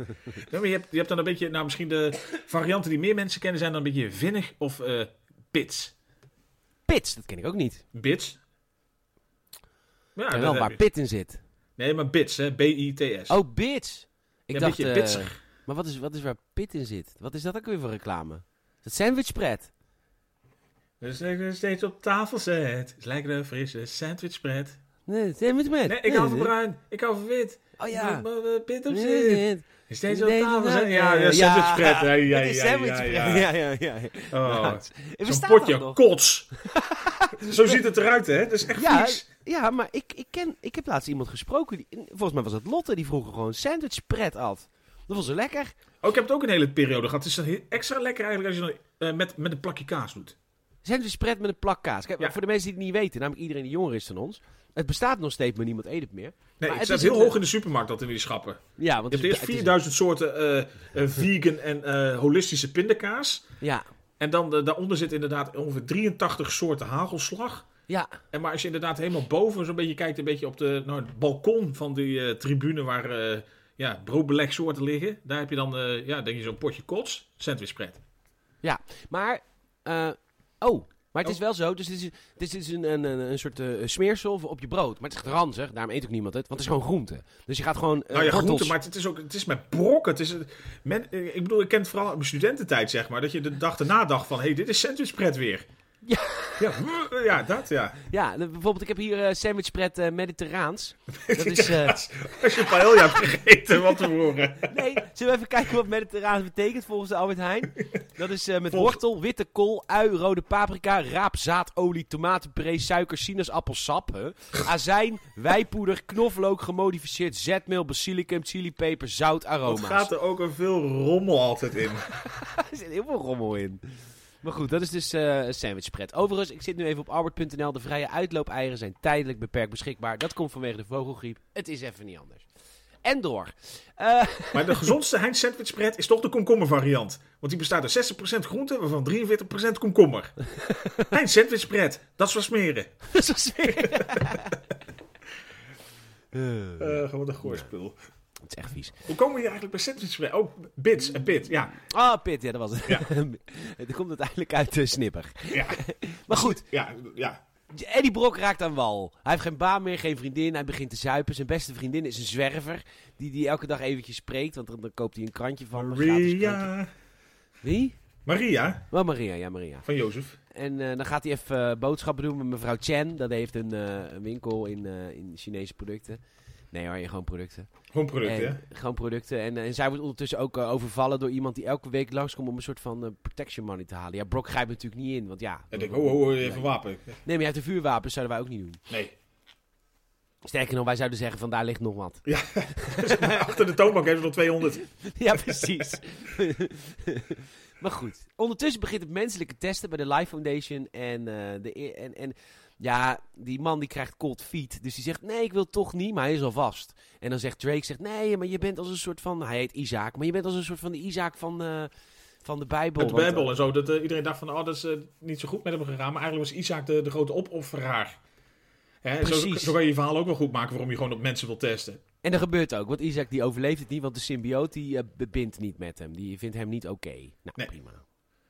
Speaker 2: maar je, hebt, je hebt dan een beetje, nou misschien de varianten die meer mensen kennen zijn dan een beetje vinnig of eh bits.
Speaker 1: Pits, dat ken ik ook niet.
Speaker 2: Bits?
Speaker 1: En
Speaker 2: Ja, Ah, dat
Speaker 1: wel
Speaker 2: heb
Speaker 1: waar
Speaker 2: je.
Speaker 1: pit in zit.
Speaker 2: Nee, maar bits, hè? B-I-T-S.
Speaker 1: Oh, bits. Ik
Speaker 2: Ja, een
Speaker 1: dacht,
Speaker 2: beetje
Speaker 1: eh,
Speaker 2: pitsig.
Speaker 1: maar wat is, wat is waar pit in zit? Wat is dat ook weer voor reclame? Is dat sandwichpret?
Speaker 2: Dus ik steeds op tafel zet. Is lekker een frisse sandwichpret.
Speaker 1: Nee, sandwichpret.
Speaker 2: Nee, ik hou van bruin. Ik hou van wit.
Speaker 1: Oh
Speaker 2: Ik
Speaker 1: ja.
Speaker 2: doe maar, eh, Pit op zit.
Speaker 1: Nee,
Speaker 2: Steeds op
Speaker 1: nee,
Speaker 2: tafel
Speaker 1: nee,
Speaker 2: zet.
Speaker 1: nee.
Speaker 2: Ja, ja, sandwichpret. Ja, ja,
Speaker 1: Het is
Speaker 2: ja, ja,
Speaker 1: sandwichpret.
Speaker 2: ja.
Speaker 1: Ja, ja, ja.
Speaker 2: Oh,
Speaker 1: Er
Speaker 2: Zo'n
Speaker 1: bestaat dat
Speaker 2: potje
Speaker 1: nog?
Speaker 2: kots. Zo ziet het eruit, hè? Dat is echt
Speaker 1: Ja,
Speaker 2: vies.
Speaker 1: ja, maar ik, ik, ken, ik heb laatst iemand gesproken. Die, volgens mij was het Lotte die vroeger gewoon sandwichpret had. Dat was zo lekker.
Speaker 2: Oh, ik heb het ook een hele periode gehad. Het is dan heel- extra lekker eigenlijk als je dan eh, met, met een plakje kaas doet.
Speaker 1: Sandwichpret met een plak kaas. Kijk,
Speaker 2: Ja.
Speaker 1: voor de mensen die het niet weten, namelijk iedereen die jonger is dan ons. Het bestaat nog steeds, maar niemand eet het meer.
Speaker 2: Nee,
Speaker 1: Maar
Speaker 2: het
Speaker 1: het
Speaker 2: staat
Speaker 1: is
Speaker 2: heel
Speaker 1: een-
Speaker 2: hoog in de supermarkt dat in die schappen.
Speaker 1: Ja, want
Speaker 2: Je hebt
Speaker 1: het is-
Speaker 2: eerst
Speaker 1: het is-
Speaker 2: 4000 soorten eh, eh, vegan en eh, holistische pindakaas.
Speaker 1: Ja,
Speaker 2: En dan eh, daaronder zit inderdaad ongeveer 83 soorten hagelslag.
Speaker 1: Ja,
Speaker 2: En maar als je inderdaad helemaal boven zo'n beetje kijkt, een beetje op de, nou, het balkon van die eh, tribune waar eh ja, broodbelegsoorten liggen, daar heb je dan eh, ja, denk je zo'n potje kots, sandwichpret.
Speaker 1: maar... eh, oh, maar het is
Speaker 2: Oh.
Speaker 1: wel zo. Dus dit is, dit is een, een, een, een soort eh, smeersel voor op je brood. Maar het is echt ranzig. Daarom eet ook niemand het. Want het is gewoon groente. Dus je gaat gewoon eh
Speaker 2: nou ja,
Speaker 1: wortels...
Speaker 2: groente, maar het is ook, het is met brokken. Het is, een- men, eh, ik bedoel, ik ken het vooral uit mijn studententijd, zeg maar, dat je de dag erna dacht van, hé, hey, dit is sandwichpret weer.
Speaker 1: Ja.
Speaker 2: Ja, hm, ja, dat ja.
Speaker 1: Ja, de- bijvoorbeeld ik heb hier eh sandwichpret eh, mediterraans. Dat is... eh,
Speaker 2: Als, als je paella hebt gegeten, wat te horen.
Speaker 3: Nee, zullen we even kijken wat mediterraan betekent volgens de Albert Heijn?
Speaker 1: Dat is eh, met
Speaker 2: Volg-
Speaker 1: wortel, witte kool, ui, rode paprika, raap, zaadolie, tomatenpuree, suiker, sinaasappelsap, hè, azijn, wijpoeder, knoflook, gemodificeerd zetmeel, basilicum, chilipeper, zout,
Speaker 2: Het
Speaker 1: aroma's.
Speaker 2: gaat er ook een veel rommel altijd in.
Speaker 1: Er zit heel veel rommel in. Maar goed, dat is dus eh sandwichpret. Overigens, ik zit nu even op albert.nl. De vrije uitloopeieren zijn tijdelijk beperkt beschikbaar. Dat komt vanwege de vogelgriep. Het is even niet anders. En door. Eh,
Speaker 2: Maar de gezondste Heinz sandwichpret is toch de komkommervariant. Want die bestaat uit 60% groente, waarvan 43% komkommer. Heinz sandwichpret, dat is wat smeren.
Speaker 1: dat was weer...
Speaker 2: gewoon Eh, een goorspul.
Speaker 1: Het is echt vies.
Speaker 2: Hoe komen we hier eigenlijk bij sandwichpret? Oh, bits, een bit, ja.
Speaker 1: Ah, Pit, ja, dat was het. het komt uiteindelijk uit eh, Snipper.
Speaker 2: Ja,
Speaker 1: Maar goed,
Speaker 2: ja, ja.
Speaker 1: Eddie Brok raakt aan wal. Hij heeft geen baan meer, geen vriendin. Hij begint te zuipen. Zijn beste vriendin is een zwerver. Die, die elke dag eventjes spreekt. Want dan, dan koopt hij een krantje van. me, gratis krantje.
Speaker 2: Maria.
Speaker 1: Wie?
Speaker 2: Maria,
Speaker 1: Oh, Maria, ja, Maria.
Speaker 2: van Jozef.
Speaker 1: En eh, dan gaat hij even eh, boodschappen doen met mevrouw Chen. Dat heeft een, eh, een winkel in, eh, in Chinese producten. Nee hoor, gewoon producten.
Speaker 2: Gewoon product, hè?
Speaker 1: En, gewoon producten. En, eh, en zij wordt ondertussen ook eh, overvallen door iemand die elke week langskomt om een soort van eh, protection money te halen. Ja, Brock grijpt natuurlijk niet in, want ja...
Speaker 2: En ik denk, oh, oh, oh, even wapen.
Speaker 1: Nee, maar hij heeft een vuurwapen, dus zouden wij ook niet doen.
Speaker 2: Nee.
Speaker 1: Sterker nog, wij zouden zeggen van daar ligt nog wat.
Speaker 2: Achter de toonbank hebben ze nog 200.
Speaker 1: ja, precies. maar goed. Ondertussen begint het menselijke testen bij de Life Foundation. En, eh, de, e- en, en ja, die man die krijgt cold feet. Dus die zegt, nee, ik wil toch niet, maar hij is al vast. En dan zegt Drake, zegt, nee, maar je bent als een soort van... Hij heet Isaac, maar je bent als een soort van de Isaac van, eh, van de Bijbel.
Speaker 2: Met de
Speaker 1: Want,
Speaker 2: Bijbel en zo. Dat eh, iedereen dacht van, oh, dat is eh, niet zo goed met hem gegaan. Maar eigenlijk was Isaac de, de grote opofferaar. Hè, en zo,
Speaker 1: Precies.
Speaker 2: zo kan je je verhaal ook wel goed maken waarom je gewoon op mensen wil testen.
Speaker 1: En dat gebeurt ook, want Isaac die overleeft het niet, want de symbioot die eh, bindt niet met hem. Die vindt hem niet oké. Nou,
Speaker 2: Nee.
Speaker 1: prima.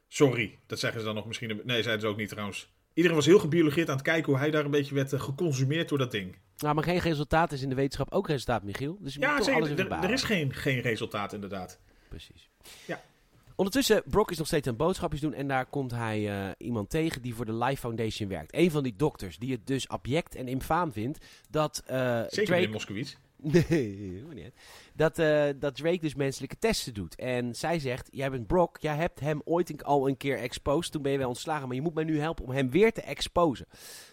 Speaker 2: Sorry, dat zeggen ze dan nog misschien. een- Nee, zeiden ze ook niet trouwens. Iedereen was heel gebiologeerd aan het kijken hoe hij daar een beetje werd eh, geconsumeerd door dat ding.
Speaker 1: Nou, maar geen resultaat is in de wetenschap ook resultaat, Michiel. Dus je moet
Speaker 2: Ja,
Speaker 1: toch
Speaker 2: zeker.
Speaker 1: alles even
Speaker 2: Er, er
Speaker 1: behalen.
Speaker 2: is geen, geen resultaat inderdaad.
Speaker 1: Precies.
Speaker 2: Ja.
Speaker 1: Ondertussen, Brock is nog steeds aan boodschapjes doen en daar komt hij eh, iemand tegen die voor de Life Foundation werkt. Een van die dokters die het dus abject en infaam vindt dat eh,
Speaker 2: Zeker
Speaker 1: Drake...
Speaker 2: in Moskowitz.
Speaker 1: Nee, hoeft niet uit. dat, eh, dat Drake dus menselijke testen doet. En zij zegt, jij bent Brock, jij hebt hem ooit een- al een keer exposed, toen ben je wel ontslagen, maar je moet mij nu helpen om hem weer te exposen.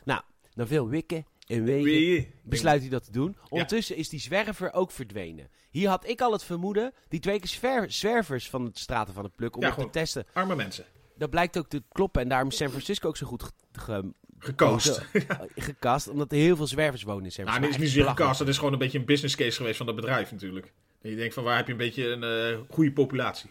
Speaker 1: Nou, na veel wikken en wegen besluit hij dat te doen. Ondertussen is die zwerver ook verdwenen. Hier had ik al het vermoeden, die twee keer zwer- zwervers van de straten van het pluk om
Speaker 2: Ja,
Speaker 1: het te
Speaker 2: gewoon.
Speaker 1: testen.
Speaker 2: Arme mensen.
Speaker 1: Dat blijkt ook te kloppen en daarom is San Francisco ook zo goed ge- ge-
Speaker 2: Gekast.
Speaker 1: gekast, omdat er heel veel zwervers wonen in San
Speaker 2: Nou,
Speaker 1: Francisco.
Speaker 2: dit is Nou, niet
Speaker 1: Oh, Echt belachelijk.
Speaker 2: zozeer gekast. Dat is gewoon een beetje een business case geweest van dat bedrijf natuurlijk. En je denkt van, waar heb je een beetje een eh, goede populatie?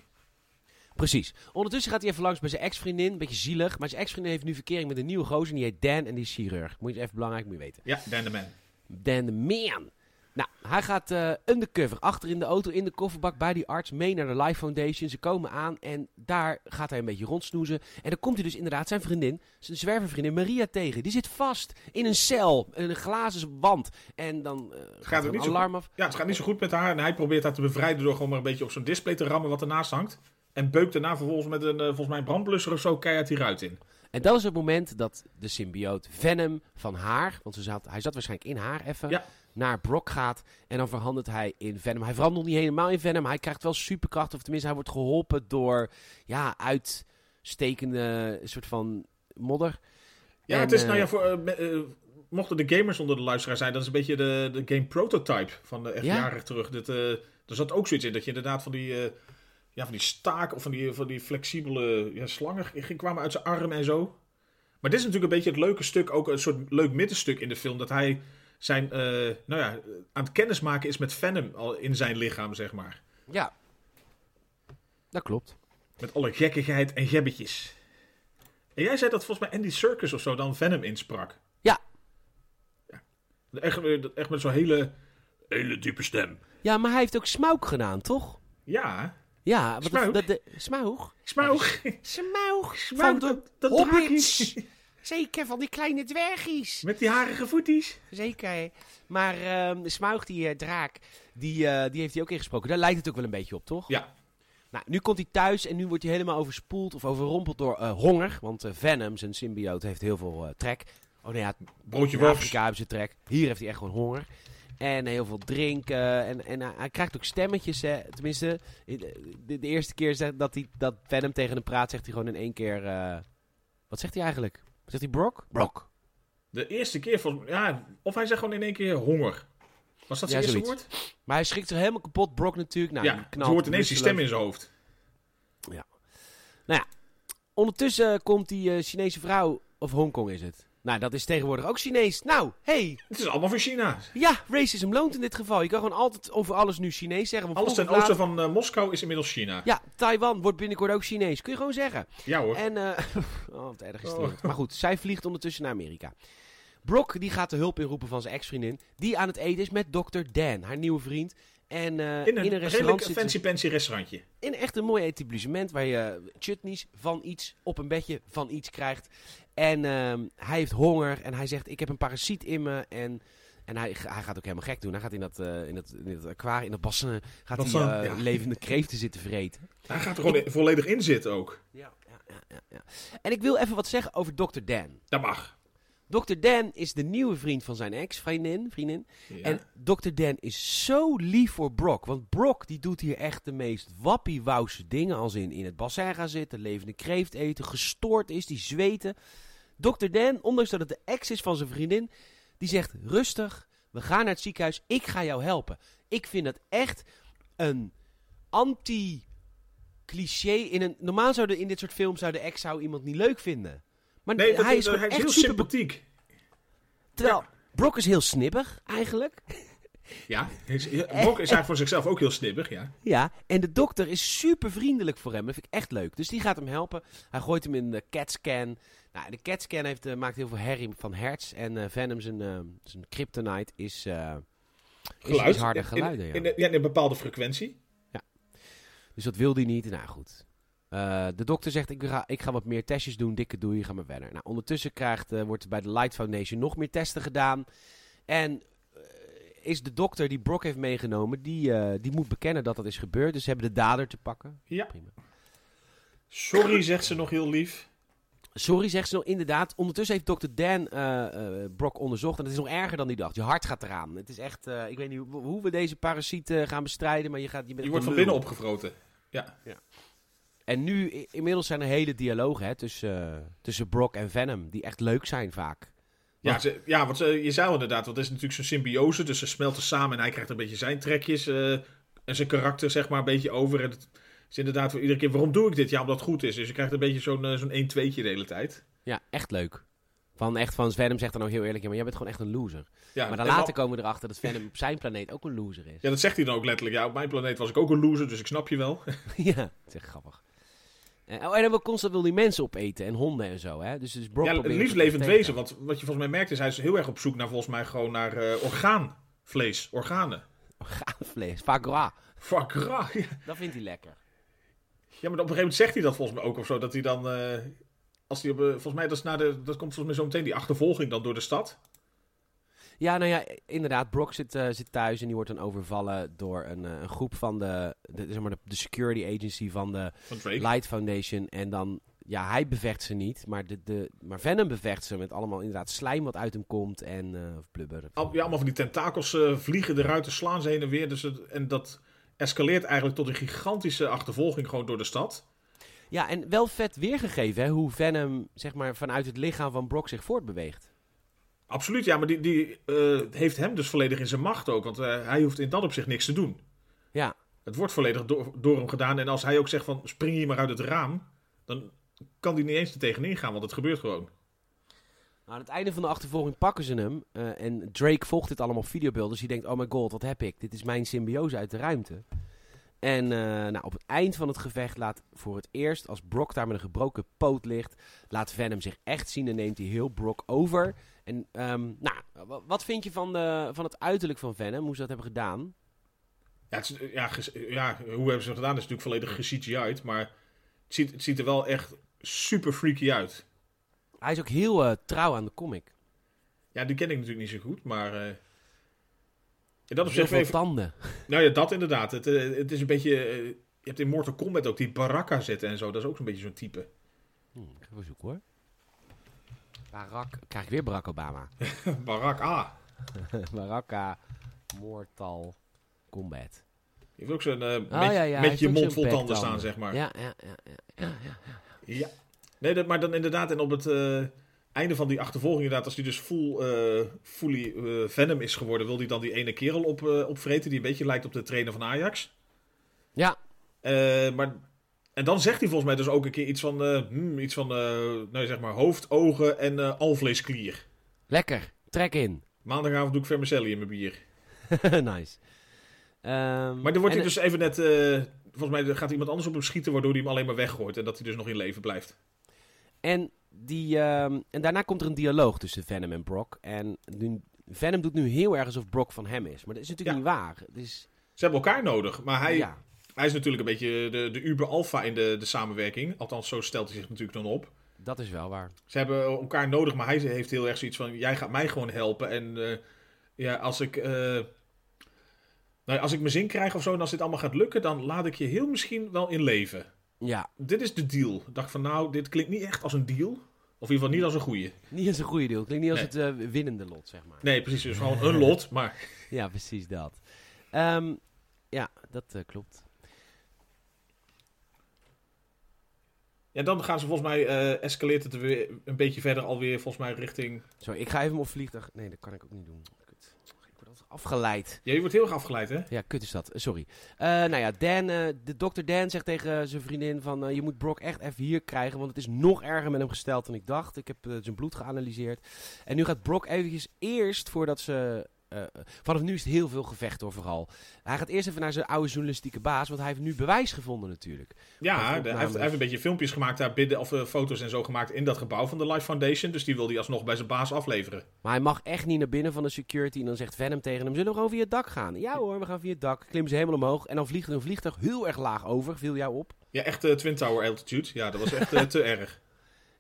Speaker 1: Precies. Ondertussen gaat hij even langs bij zijn ex-vriendin. Een beetje zielig. Maar zijn ex-vriendin heeft nu verkering met een nieuwe gozer. En die heet Dan en die is chirurg. Moet je even belangrijk moet je weten.
Speaker 2: Ja, Dan de Man.
Speaker 1: Dan de man. Nou, hij gaat eh, undercover. Achter in de auto, in de kofferbak, bij die arts. Mee naar de Life Foundation. Ze komen aan en daar gaat hij een beetje rondsnoezen. En dan komt hij dus inderdaad zijn vriendin, zijn zwervervriendin Maria tegen. Die zit vast in een cel, in een glazen wand. En dan eh, gaat
Speaker 2: het
Speaker 1: er een
Speaker 2: niet zo
Speaker 1: alarm af.
Speaker 2: Ja, het gaat niet zo goed met haar. En hij probeert haar te bevrijden door gewoon maar een beetje op zo'n display te rammen wat ernaast hangt. En beukt daarna vervolgens met een, eh, volgens mij, een brandblusser of zo keihard die ruit in.
Speaker 1: En dat is het moment dat de symbioot Venom van haar, want ze zat, hij zat waarschijnlijk in haar even,
Speaker 2: Ja.
Speaker 1: naar Brock gaat. En dan verandert hij in Venom. Hij verandert niet helemaal in Venom. Hij krijgt wel superkracht, of tenminste hij wordt geholpen door ja, uitstekende soort van modder.
Speaker 2: Ja,
Speaker 1: En,
Speaker 2: het is,
Speaker 1: eh,
Speaker 2: nou ja, voor, eh, me- eh, mochten de gamers onder de luisteraar zijn, dat is een beetje de, de game prototype van de echt
Speaker 1: Ja.
Speaker 2: jaren terug. Dat, eh er zat ook zoiets in, dat je inderdaad van die, eh, ja, van die staak of van die, van die flexibele ja, slangen ging- kwamen uit zijn arm en zo. Maar dit is natuurlijk een beetje het leuke stuk, ook een soort leuk middenstuk in de film, dat hij zijn, eh, nou ja, aan het kennismaken is met Venom al in zijn lichaam, zeg maar.
Speaker 1: Ja, dat klopt.
Speaker 2: Met alle gekkigheid en gebbetjes. En jij zei dat volgens mij Andy Circus of zo dan Venom insprak.
Speaker 1: Ja.
Speaker 2: Ja. Echt, eh, dat- echt met zo'n hele, hele diepe stem.
Speaker 1: Ja, maar hij heeft ook Smaug gedaan, toch?
Speaker 2: Ja.
Speaker 1: Ja, want dat,
Speaker 2: Smaug?
Speaker 1: dat, de, Smaug?
Speaker 2: Smaug.
Speaker 1: Smaug van
Speaker 2: Smaug,
Speaker 1: de
Speaker 2: dat, dat
Speaker 1: hobbits.
Speaker 2: draakje.
Speaker 1: Zeker, van die kleine dwergjes.
Speaker 2: Met die harige voeties.
Speaker 1: Zeker. Maar ehm Smaug, die eh, draak, die, eh, die heeft hij ook ingesproken. Daar lijkt het ook wel een beetje op, toch?
Speaker 2: Ja.
Speaker 1: Nou, nu komt hij thuis en nu wordt hij helemaal overspoeld of overrompeld door eh, honger. Want eh, Venom, zijn symbioot, heeft heel veel eh, trek. Oh nee, ja,
Speaker 2: Broodje
Speaker 1: in Afrika hebben ze trek. Hier heeft hij echt gewoon honger. En heel veel drinken. En, en hij- hij krijgt ook stemmetjes. Hè. Tenminste, eh, de, de eerste keer zegt dat, hij, dat Venom tegen hem praat, zegt hij gewoon in één keer... eh, wat zegt hij eigenlijk? Zegt hij Brock? Brock.
Speaker 2: De eerste keer volgens mij. Ja, of hij zegt gewoon in één keer honger. Was dat zijn
Speaker 1: Ja,
Speaker 2: eerste
Speaker 1: zoiets.
Speaker 2: woord?
Speaker 1: Maar hij schrikt zich helemaal kapot. Brock natuurlijk. Nou, die
Speaker 2: ja. Je
Speaker 1: knalt
Speaker 2: hoort ineens die
Speaker 1: rusteloos
Speaker 2: stem in zijn hoofd.
Speaker 1: Nou Ondertussen eh, komt die eh, Chinese vrouw, of Hongkong is het. Nou, dat is tegenwoordig ook Chinees. Nou, hey,
Speaker 2: Het is allemaal van China.
Speaker 1: ja, racism loont in dit geval. Je kan gewoon altijd over alles nu Chinees zeggen. want
Speaker 2: Alles ten
Speaker 1: vroeg of
Speaker 2: oosten van eh, Moskou is inmiddels China.
Speaker 1: laat- Ja, Taiwan wordt binnenkort ook Chinees. Kun je gewoon zeggen.
Speaker 2: Ja hoor.
Speaker 1: En, eh, oh, wat erg is het
Speaker 2: Oh.
Speaker 1: wereld. Maar goed, zij vliegt ondertussen naar Amerika. Brock, die gaat de hulp inroepen van zijn ex-vriendin. Die aan het eten is met Dr. Dan, haar nieuwe vriend. En eh,
Speaker 2: in een, redelijk
Speaker 1: restaurant zitten ze-
Speaker 2: fancy fancy restaurantje.
Speaker 1: In echt een mooi etablissement waar je chutneys van iets op een bedje van iets krijgt. En ehm, hij heeft honger en hij zegt: Ik heb een parasiet in me. En, en hij, hij gaat ook helemaal gek doen. Hij gaat in dat, eh, in dat, in dat aquarium, in dat bassin, gaat hij
Speaker 2: Bassin,
Speaker 1: eh,
Speaker 2: ja.
Speaker 1: levende kreeften zitten vreten.
Speaker 2: Hij gaat er gewoon in- volledig in zitten ook.
Speaker 1: Ja, ja, ja, ja, ja. En ik wil even wat zeggen over Dr. Dan.
Speaker 2: Dat mag.
Speaker 1: Dr. Dan is de nieuwe vriend van zijn ex, vriendin. vriendin.
Speaker 2: Ja.
Speaker 1: En Dr. Dan is zo lief voor Brock. Want Brock die doet hier echt de meest wappiewauwse dingen. Als in in het bassin gaan zitten, levende kreeft eten, gestoord is, die zweten. Dr. Dan, ondanks dat het de ex is van zijn vriendin, die zegt rustig, we gaan naar het ziekenhuis, ik ga jou helpen. Ik vind dat echt een anti cliché in een normaal zouden in dit soort films zou de ex zou iemand niet leuk vinden. Maar
Speaker 2: nee, dat,
Speaker 1: hij is,
Speaker 2: is, hij
Speaker 1: gewoon
Speaker 2: is
Speaker 1: echt
Speaker 2: heel
Speaker 1: super
Speaker 2: sympathiek.
Speaker 1: terwijl Brock is heel snibbig eigenlijk.
Speaker 2: Ja, hij is- ja, Brock is hij voor zichzelf ook heel snibbig, ja.
Speaker 1: Ja, en de dokter is super vriendelijk voor hem. Dat vind ik echt leuk. Dus die gaat hem helpen. Hij gooit hem in de CAT-scan. Nou, de CAT-scan heeft, eh, maakt heel veel herrie van hertz. En eh, Venom, zijn, eh, zijn kryptonite, is, eh, is, is harde
Speaker 2: In- in-
Speaker 1: geluiden. ja.
Speaker 2: In, de- ja, in een bepaalde frequentie.
Speaker 1: Dus dat wil hij niet. Nou goed. Eh, de dokter zegt, ik ga, ik ga wat meer testjes doen. Dikke doei, ga maar verder. Nou, ondertussen krijgt, eh, wordt er bij de Light Foundation nog meer testen gedaan. En eh, is de dokter die Brock heeft meegenomen, die, eh, die moet bekennen dat dat is gebeurd. Dus ze hebben de dader te pakken.
Speaker 2: Ja.
Speaker 1: Prima.
Speaker 2: Sorry, zegt ze nog heel lief.
Speaker 1: Sorry, zegt ze nog. Inderdaad. Ondertussen heeft dokter Dan eh, eh, Brock onderzocht. En het is nog erger dan die dacht. Je hart gaat eraan. Het is echt... eh, ik weet niet hoe, hoe we deze parasieten gaan bestrijden, maar je gaat... bent
Speaker 2: Je
Speaker 1: echt
Speaker 2: wordt
Speaker 1: een
Speaker 2: van binnen
Speaker 1: lul.
Speaker 2: opgevroten. Ja.
Speaker 1: En nu, i- inmiddels zijn er hele dialogen hè, tussen, eh, tussen Brock en Venom. Die echt leuk zijn vaak.
Speaker 2: Ja,
Speaker 1: Wat?
Speaker 2: ze- ja, want eh, je zou inderdaad, want het is natuurlijk zo'n symbiose, dus ze smelten samen en hij krijgt een beetje zijn trekjes eh, en zijn karakter zeg maar een beetje over. En het is inderdaad voor iedere keer, waarom doe ik dit? Ja, omdat het goed is. Dus je krijgt een beetje zo'n eh, zo'n 1-2'tje de hele tijd.
Speaker 1: Ja, echt leuk. Van, echt, van Venom zegt dan ook heel eerlijk... Ja, maar jij bent gewoon echt een loser.
Speaker 2: Ja,
Speaker 1: maar dan
Speaker 2: en
Speaker 1: later komen we erachter dat Venom op zijn planeet ook een loser is.
Speaker 2: Ja, dat zegt hij dan ook letterlijk. Ja, op mijn planeet was ik ook een loser, dus ik snap je wel.
Speaker 1: Ja, dat is echt grappig. Eh, oh, en dan wil constant wil die mensen opeten en honden en zo. Hè? Dus, dus Brock
Speaker 2: ja, het
Speaker 1: probeert
Speaker 2: liefst
Speaker 1: dat te
Speaker 2: levend
Speaker 1: tegen.
Speaker 2: wezen. Want wat je volgens mij merkt is, hij is heel erg op zoek naar volgens mij gewoon naar eh, orgaanvlees, organen.
Speaker 1: Gaafvlees, foie gras.
Speaker 2: Fuck, ra. Ja,
Speaker 1: Dat vindt hij lekker.
Speaker 2: maar op een gegeven moment zegt hij dat volgens mij ook of zo. Dat hij dan, eh, als hij op, eh, volgens mij, dat, is na de, dat komt volgens mij zo meteen die achtervolging dan door de stad.
Speaker 1: Ja, nou ja, inderdaad. Brock zit, eh, zit thuis en die wordt dan overvallen door een, eh, een groep van de, de, zeg maar de, de security agency van de
Speaker 2: Van Drake.
Speaker 1: Light Foundation. En dan, ja, hij bevecht ze niet, maar, de, de, maar Venom bevecht ze met allemaal inderdaad slijm wat uit hem komt en eh, of blubber.
Speaker 2: Al- Oh, ja, allemaal van die tentakels eh, vliegen eruit en slaan ze heen en weer. Dus het- en dat escaleert eigenlijk tot een gigantische achtervolging gewoon door de stad.
Speaker 1: Ja, en wel vet weergegeven hè, hoe Venom zeg maar, vanuit het lichaam van Brock zich voortbeweegt.
Speaker 2: Absoluut, ja, maar die, die eh, heeft hem dus volledig in zijn macht ook. Want eh, hij hoeft in dat opzicht niks te doen.
Speaker 1: Ja,
Speaker 2: Het wordt volledig door, door hem gedaan. En als hij ook zegt van spring hier maar uit het raam, dan kan die niet eens er tegenin gaan, want het gebeurt gewoon.
Speaker 1: Nou, aan het einde van de achtervolging pakken ze hem. eh, en Drake volgt dit allemaal op videobeelden. Dus hij denkt, oh my god, wat heb ik? Dit is mijn symbiose uit de ruimte. En eh, nou, op het eind van het gevecht laat voor het eerst, als Brock daar met een gebroken poot ligt, laat Venom zich echt zien en neemt hij heel Brock over. En ehm, nou, wa- wat vind je van, de, van het uiterlijk van Venom, hoe ze dat hebben gedaan?
Speaker 2: Ja, het is- eh, ja, ges- ja, hoe hebben ze het gedaan? is natuurlijk volledig ge-CGI'd, maar het ziet, het ziet er wel echt super freaky uit.
Speaker 1: Hij is ook heel eh, trouw aan de comic.
Speaker 2: Ja, die ken ik natuurlijk niet zo goed, maar... eh, in dat
Speaker 1: Heel
Speaker 2: opzicht
Speaker 1: veel
Speaker 2: even...
Speaker 1: tanden.
Speaker 2: Nou ja, dat inderdaad. Het, eh, het is een beetje... eh, je hebt in Mortal Kombat ook die Baraka zitten en zo. Dat is ook een beetje zo'n type.
Speaker 1: Hm, ik ga even zoeken hoor. Barack, krijg ik weer Barack Obama.
Speaker 2: Barak A.
Speaker 1: Baraka, Mortal Kombat.
Speaker 2: Je hebt ook zo'n... eh,
Speaker 1: Oh,
Speaker 2: met
Speaker 1: ja, ja, hij
Speaker 2: met
Speaker 1: heeft
Speaker 2: je
Speaker 1: ook zo'n
Speaker 2: mond vol tanden
Speaker 1: bektanden.
Speaker 2: staan, zeg maar.
Speaker 1: Ja, ja, ja, ja, ja, ja.
Speaker 2: Ja. Nee, dat, maar dan inderdaad, en op het eh, einde van die achtervolging, inderdaad, als die dus full, eh, fully eh, Venom is geworden, wil die dan die ene kerel op, eh, opvreten die een beetje lijkt op de trainer van Ajax.
Speaker 1: Ja,
Speaker 2: Eh, maar, en dan zegt hij volgens mij dus ook een keer iets van, eh, hmm, iets van eh, nee, zeg maar, hoofd, ogen en eh alvleesklier.
Speaker 1: lekker. Trek in.
Speaker 2: Maandagavond doe ik vermicelli in mijn bier.
Speaker 1: nice. Ehm,
Speaker 2: Maar dan wordt
Speaker 1: en-
Speaker 2: hij dus even net, eh, volgens mij gaat iemand anders op hem schieten, waardoor hij hem alleen maar weggooit en dat hij dus nog in leven blijft.
Speaker 1: En, die, ehm, en daarna komt er een dialoog tussen Venom en Brock. En nu, Venom doet nu heel erg alsof Brock van hem is. Maar dat is natuurlijk
Speaker 2: Ja.
Speaker 1: niet waar. Het is,
Speaker 2: Ze hebben elkaar nodig, maar hij,
Speaker 1: ja.
Speaker 2: Hij is natuurlijk een beetje de, de uber-alpha in de, de samenwerking. Althans, zo stelt hij zich natuurlijk dan op.
Speaker 1: Dat is wel waar.
Speaker 2: Ze hebben elkaar nodig, maar hij heeft heel erg zoiets van... Jij gaat mij gewoon helpen. En eh, ja, als ik, eh, nou, ja, als ik mijn zin krijg of zo... en als dit allemaal gaat lukken, dan laat ik je heel misschien wel in leven.
Speaker 1: Ja,
Speaker 2: Dit is de deal. Ik dacht van, nou, dit klinkt niet echt als een deal. Of in ieder geval niet als een goeie.
Speaker 1: niet als een goede deal. Klinkt niet als
Speaker 2: Nee.
Speaker 1: het eh, winnende lot, zeg maar.
Speaker 2: Nee, precies. Dus gewoon een lot, maar...
Speaker 1: Ja, precies dat. Ehm, ja, dat eh, klopt.
Speaker 2: Ja, dan gaan ze volgens mij... eh, escaleert het weer een beetje verder alweer volgens mij richting...
Speaker 1: Sorry, ik ga even op vliegtuig. Nee, dat kan ik ook niet doen. Kut. Ik word altijd afgeleid.
Speaker 2: Ja, je wordt heel erg afgeleid, hè?
Speaker 1: Ja, kut is dat. Eh, Sorry. Eh, nou ja, Dan, eh, de dokter Dan zegt tegen zijn vriendin van... eh, je moet Brock echt even hier krijgen, want het is nog erger met hem gesteld dan ik dacht. Ik heb eh, zijn bloed geanalyseerd. En nu gaat Brock eventjes eerst voordat ze... eh, vanaf nu is het heel veel gevecht hoor, vooral. Hij gaat eerst even naar zijn oude journalistieke baas, want hij heeft nu bewijs gevonden natuurlijk. Of
Speaker 2: Ja, de- hij
Speaker 1: opnames.
Speaker 2: heeft, hij heeft een beetje filmpjes gemaakt daar binnen, of eh, foto's en zo gemaakt in dat gebouw van de Life Foundation. Dus die wil hij alsnog bij zijn baas afleveren.
Speaker 1: Maar hij mag echt niet naar binnen van de security. En dan zegt Venom tegen hem: Zullen we gewoon via het dak gaan? Ja hoor, we gaan via het dak. Klimmen ze helemaal omhoog. En dan vliegt er een vliegtuig heel erg laag over. Viel jou op.
Speaker 2: Ja, echt eh, Twin Tower altitude. Ja, dat was echt eh, te erg.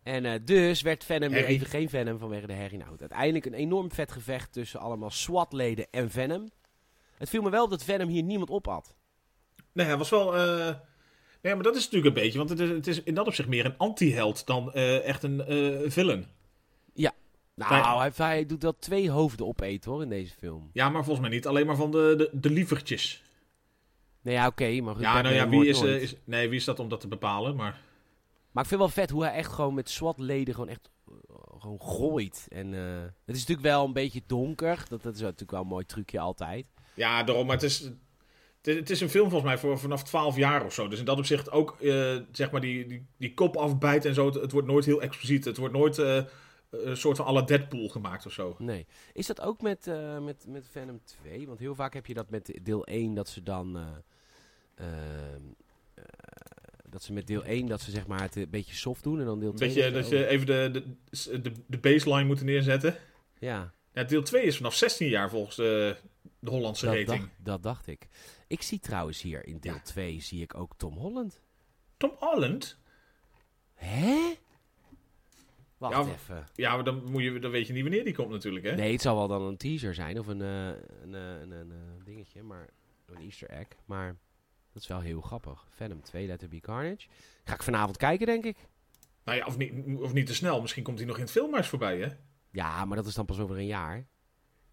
Speaker 1: En eh, dus werd Venom weer
Speaker 2: Herrie.
Speaker 1: even geen Venom vanwege de herrie. Nou, goed, uiteindelijk een enorm vet gevecht tussen allemaal SWAT-leden en Venom. Het viel me wel op dat Venom hier niemand op had.
Speaker 2: Nee, hij was wel... eh, Nee, maar dat is natuurlijk een beetje, want het is, het is in dat opzicht meer een anti-held dan eh, echt een eh villain.
Speaker 1: Nou, hij, hij doet wel twee hoofden opeten hoor in deze film.
Speaker 2: Ja, maar volgens mij niet alleen maar van de, de, de lievertjes.
Speaker 1: Nee, ja, oké, maar goed,
Speaker 2: Ja,
Speaker 1: Batman
Speaker 2: nou ja, wie
Speaker 1: wordt
Speaker 2: is, eh,
Speaker 1: nooit.
Speaker 2: is, nee, wie is dat om dat te bepalen? Maar
Speaker 1: Maar ik vind wel vet hoe hij echt gewoon met SWAT-leden gewoon echt eh, gewoon gooit. En eh, het is natuurlijk wel een beetje donker. Dat, dat is natuurlijk wel een mooi trucje altijd.
Speaker 2: Ja, daarom. Maar het is, het, is- het is een film volgens mij voor vanaf 12 jaar of zo. Dus in dat opzicht ook, eh, zeg maar, die, die, die kop afbijt en zo. Het, het wordt nooit heel expliciet. Het wordt nooit eh, een soort van alle Deadpool gemaakt of zo.
Speaker 1: Nee. Is dat ook met, eh, met, met Venom 2? Want heel vaak heb je dat met deel 1 dat ze dan... eh, ehm, eh, dat ze met deel 1 dat ze zeg maar het een beetje soft doen en dan deel 2...
Speaker 2: Dat je, dat je even de, de, de, de baseline moet neerzetten.
Speaker 1: Ja,
Speaker 2: Ja, deel 2 is vanaf 16 jaar volgens eh, de Hollandse
Speaker 1: dat
Speaker 2: rating.
Speaker 1: dacht, dat dacht ik. Ik zie trouwens hier in deel
Speaker 2: Ja.
Speaker 1: 2 zie ik ook Tom Holland.
Speaker 2: Tom Holland?
Speaker 1: Hè? Wacht
Speaker 2: Ja, maar-
Speaker 1: even.
Speaker 2: Ja, maar dan, moet je, dan weet je niet wanneer die komt natuurlijk, hè?
Speaker 1: Nee, het zal wel dan een teaser zijn of een, eh, een, eh, een, een, eh, dingetje, maar een easter egg. Maar dat is wel heel grappig. Venom 2, Letter Be Carnage. Ga ik vanavond kijken, denk ik.
Speaker 2: Nou ja, of niet, of niet te snel. Misschien komt hij nog in het filmhuis voorbij, hè?
Speaker 1: Ja, maar dat is dan pas over een jaar.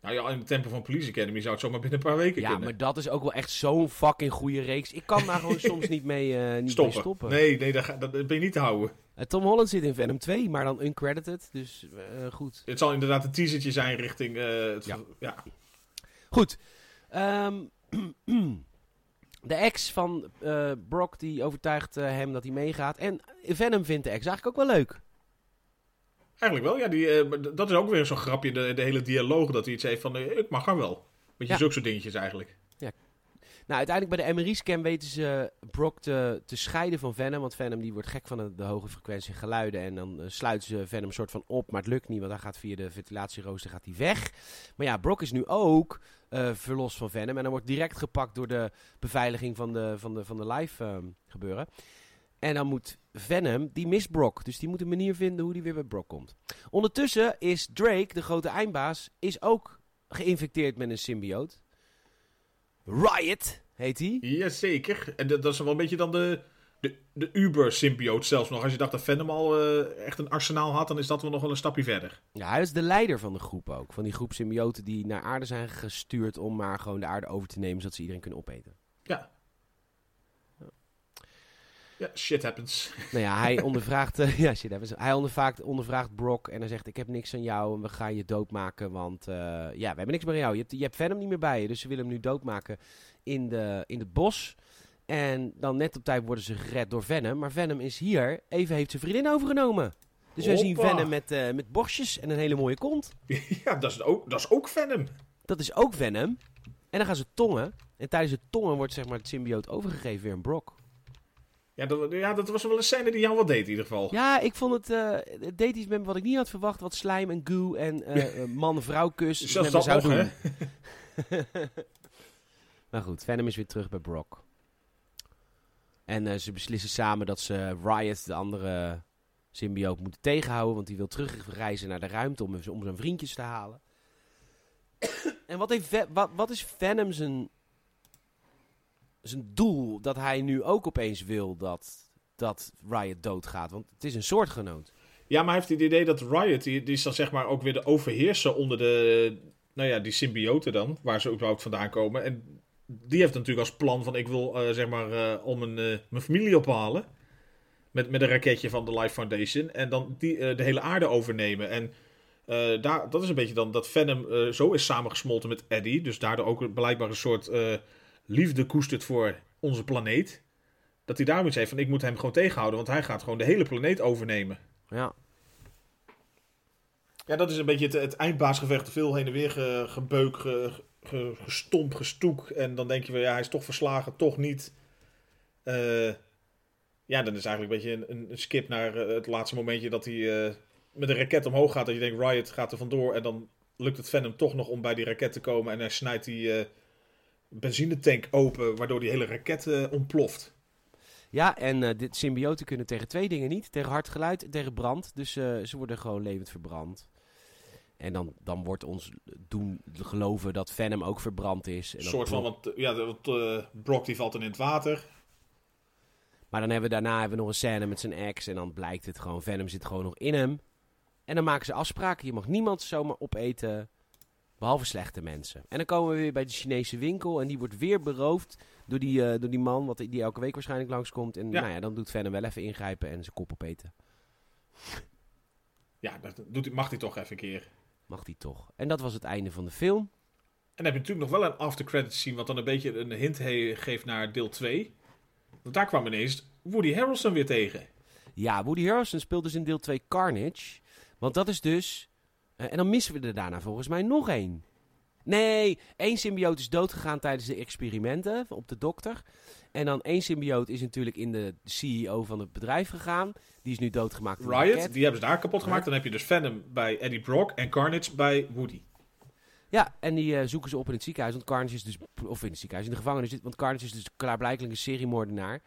Speaker 2: Nou ja, in de tempo van Police Academy zou het zomaar binnen een paar weken
Speaker 1: ja,
Speaker 2: kunnen.
Speaker 1: maar dat is ook wel echt zo'n fucking goede reeks. Ik kan daar gewoon soms niet mee eh, niet
Speaker 2: stoppen.
Speaker 1: Mee stoppen.
Speaker 2: Nee, nee dat, ga- dat ben je niet te houden.
Speaker 1: Eh, Tom Holland zit in Venom 2, maar dan uncredited. Dus eh, goed.
Speaker 2: Het zal inderdaad een teasertje zijn richting... eh, het
Speaker 1: Ja.
Speaker 2: ja.
Speaker 1: Goed. Ehm, de ex van eh, Brock die overtuigt eh, hem dat hij meegaat. En Venom vindt de ex eigenlijk ook wel leuk.
Speaker 2: Eigenlijk wel, ja. Die, eh, maar d- dat is ook weer zo'n grapje, de, de hele dialoog. Dat hij iets heeft van, eh, ik mag haar wel. Weet je,
Speaker 1: Ja.
Speaker 2: zulke soort dingetjes eigenlijk.
Speaker 1: Nou, uiteindelijk bij de MRI-scan weten ze eh, Brock te, te scheiden van Venom. Want Venom die wordt gek van de, de hoge frequentie en geluiden. En dan eh, sluiten ze Venom soort van op. Maar het lukt niet, want hij gaat via de ventilatierooster gaat hij weg. Maar ja, Brock is nu ook eh, verlost van Venom. En dan wordt direct gepakt door de beveiliging van de, van de, van de live ehm, gebeuren. En dan moet Venom, die mist Brock. Dus die moet een manier vinden hoe die weer bij Brock komt. Ondertussen is Drake, de grote eindbaas, is ook geïnfecteerd met een symbioot. Riot heet hij.
Speaker 2: Jazeker. En dat, dat is wel een beetje dan de, de, de Uber-symbioot zelfs nog. Als je dacht dat Venom al eh, echt een arsenaal had, dan is dat wel nog wel een stapje verder.
Speaker 1: Ja, hij is de leider van de groep ook. Van die groep symbioten die naar aarde zijn gestuurd om maar gewoon de aarde over te nemen, zodat ze iedereen kunnen opeten.
Speaker 2: Ja. Ja, shit happens.
Speaker 1: Nou ja, hij ondervraagt, eh, ja, shit, hebben ze- hij ondervraagt, ondervraagt Brock en hij zegt, ik heb niks aan jou en we gaan je doodmaken, want eh, ja, we hebben niks meer aan jou. Je hebt, je hebt Venom niet meer bij je, dus ze willen hem nu doodmaken in, de, in het bos. En dan net op tijd worden ze gered door Venom, maar Venom is hier, even heeft zijn vriendin overgenomen. Dus wij zien
Speaker 2: Hoppa.
Speaker 1: Venom met, eh, met borstjes en een hele mooie kont.
Speaker 2: ja, dat is ook, dat is ook Venom.
Speaker 1: Dat is ook Venom. En dan gaan ze tongen. En tijdens het tongen wordt zeg maar het symbioot overgegeven weer een brok.
Speaker 2: Ja dat, ja, dat was wel een scène die jou wel deed in ieder geval.
Speaker 1: Ja, ik vond het, eh, het deed iets met me wat ik niet had verwacht. Wat slijm en goo en eh, eh, man-vrouw kus
Speaker 2: Zelfs
Speaker 1: met me zou
Speaker 2: dat nog,
Speaker 1: doen. maar goed, Venom is weer terug bij Brock. En eh, ze beslissen samen dat ze Riot, de andere symbioot, moeten tegenhouden. Want die wil terugreizen naar de ruimte om, om zijn vriendjes te halen. en wat, heeft, Ve- wat, wat is Venom zijn, zijn doel? Dat hij nu ook opeens wil dat, dat Riot doodgaat. Want het is een soortgenoot.
Speaker 2: Ja, maar hij heeft het idee dat Riot, die, die is dan zeg maar ook weer de overheerser onder de, nou ja, die symbioten dan, waar ze überhaupt vandaan komen. En die heeft natuurlijk als plan van ik wil eh, zeg maar eh, om een, eh, mijn familie ophalen met, met een raketje van de Life Foundation en dan die, eh, de hele aarde overnemen. En eh, daar, dat is een beetje dan dat Venom eh, zo is samengesmolten met Eddie, dus daardoor ook blijkbaar een soort eh, liefde koestert voor onze planeet. Dat hij daarom iets heeft van ik moet hem gewoon tegenhouden, want hij gaat gewoon de hele planeet overnemen.
Speaker 1: Ja.
Speaker 2: Ja, dat is een beetje het, het eindbaasgevecht. Veel heen en weer ge- gebeuk, ge- ge- gestomp, gestoek. En dan denk je weer, ja, hij is toch verslagen, toch niet. Eh, ja, dan is eigenlijk een beetje een, een skip naar eh, het laatste momentje dat hij eh, met een raket omhoog gaat. Dat je denkt, Riot gaat er vandoor. En dan lukt het Venom toch nog om bij die raket te komen. En hij snijdt die eh, benzinetank open, waardoor die hele raket eh, ontploft.
Speaker 1: Ja, en eh, dit symbioten kunnen tegen twee dingen niet. Tegen hard geluid en tegen brand. Dus eh, ze worden gewoon levend verbrand. En dan, dan wordt ons doen geloven dat Venom ook verbrand is. En
Speaker 2: Een
Speaker 1: dat
Speaker 2: soort van,
Speaker 1: Brock-
Speaker 2: want eh, ja, want, eh, Brock die valt dan in het water.
Speaker 1: Maar dan hebben we daarna hebben we nog een scène met zijn ex. En dan blijkt het gewoon, Venom zit gewoon nog in hem. En dan maken ze afspraken. Je mag niemand zomaar opeten, behalve slechte mensen. En dan komen we weer bij de Chinese winkel. En die wordt weer beroofd door die, eh, door die man, wat, die elke week waarschijnlijk langskomt. En
Speaker 2: Ja.
Speaker 1: nou ja, dan doet Venom wel even ingrijpen en zijn kop opeten.
Speaker 2: Ja, dat doet, hij- mag hij toch even een keer.
Speaker 1: Mag die toch. En dat was het einde van de film.
Speaker 2: En dan heb je natuurlijk nog wel een aftercredits scene, wat dan een beetje een hint he- geeft naar deel 2. Want daar kwam ineens Woody Harrelson weer tegen.
Speaker 1: Ja, Woody Harrelson speelt dus in deel 2 Carnage. Want dat is dus... eh, en dan missen we er daarna volgens mij nog één. Nee, één symbioot is doodgegaan tijdens de experimenten op de dokter. En dan één symbioot is natuurlijk in de CEO van het bedrijf gegaan. Die is nu doodgemaakt. in een raket.
Speaker 2: Riot, die hebben ze daar kapot gemaakt. Dan heb je dus Venom bij Eddie Brock en Carnage bij Woody.
Speaker 1: Ja, en die eh, zoeken ze op in het ziekenhuis. Want Carnage is dus. Of in het ziekenhuis, in de gevangenis. zit- Want Carnage is dus klaarblijkelijk een seriemoordenaar.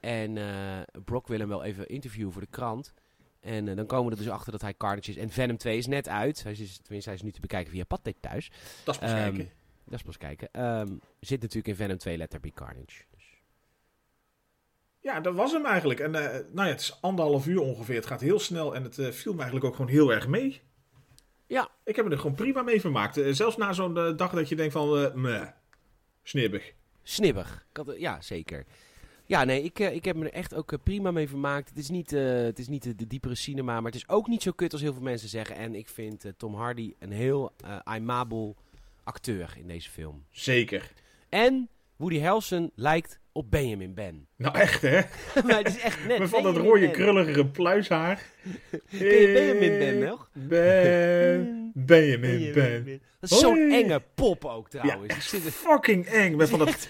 Speaker 1: En eh, Brock wil hem wel even interviewen voor de krant. En eh, dan komen we er dus achter dat hij Carnage is. En Venom 2 is net uit. Hij is, dus, tenminste, hij is nu te bekijken via Pathé thuis.
Speaker 2: Dat is pas
Speaker 1: Ehm,
Speaker 2: kijken.
Speaker 1: Dat is pas kijken. Ehm, zit natuurlijk in Venom 2 letter bij Carnage. Dus.
Speaker 2: Ja, dat was hem eigenlijk. En eh, nou ja, het is anderhalf uur ongeveer. Het gaat heel snel en het eh, viel me eigenlijk ook gewoon heel erg mee.
Speaker 1: Ja.
Speaker 2: Ik heb me er gewoon prima mee vermaakt. Eh, zelfs na zo'n eh, dag dat je denkt van, eh meh, snibbig.
Speaker 1: Snibbig. Ik had- ja, zeker. Ja, nee, ik, eh, ik heb me er echt ook eh, prima mee vermaakt. Het is niet, eh, het is niet de, de diepere cinema, maar het is ook niet zo kut als heel veel mensen zeggen. En ik vind eh, Tom Hardy een heel eh aimabel acteur in deze film.
Speaker 2: Zeker.
Speaker 1: En Woody Harrelson lijkt op Benjamin Ben.
Speaker 2: Nou echt hè?
Speaker 1: maar het is echt net
Speaker 2: Maar van dat
Speaker 1: Benjamin
Speaker 2: rode
Speaker 1: Ben.
Speaker 2: krulligere pluishaar.
Speaker 1: Ken je Benjamin Ben nog?
Speaker 2: Ben,
Speaker 1: Benjamin
Speaker 2: Benjamin Ben.
Speaker 1: Dat is zo'n
Speaker 2: Hoi.
Speaker 1: enge pop ook
Speaker 2: Ja,
Speaker 1: trouwens. Die
Speaker 2: echt
Speaker 1: zit er-
Speaker 2: fucking eng. Met van dat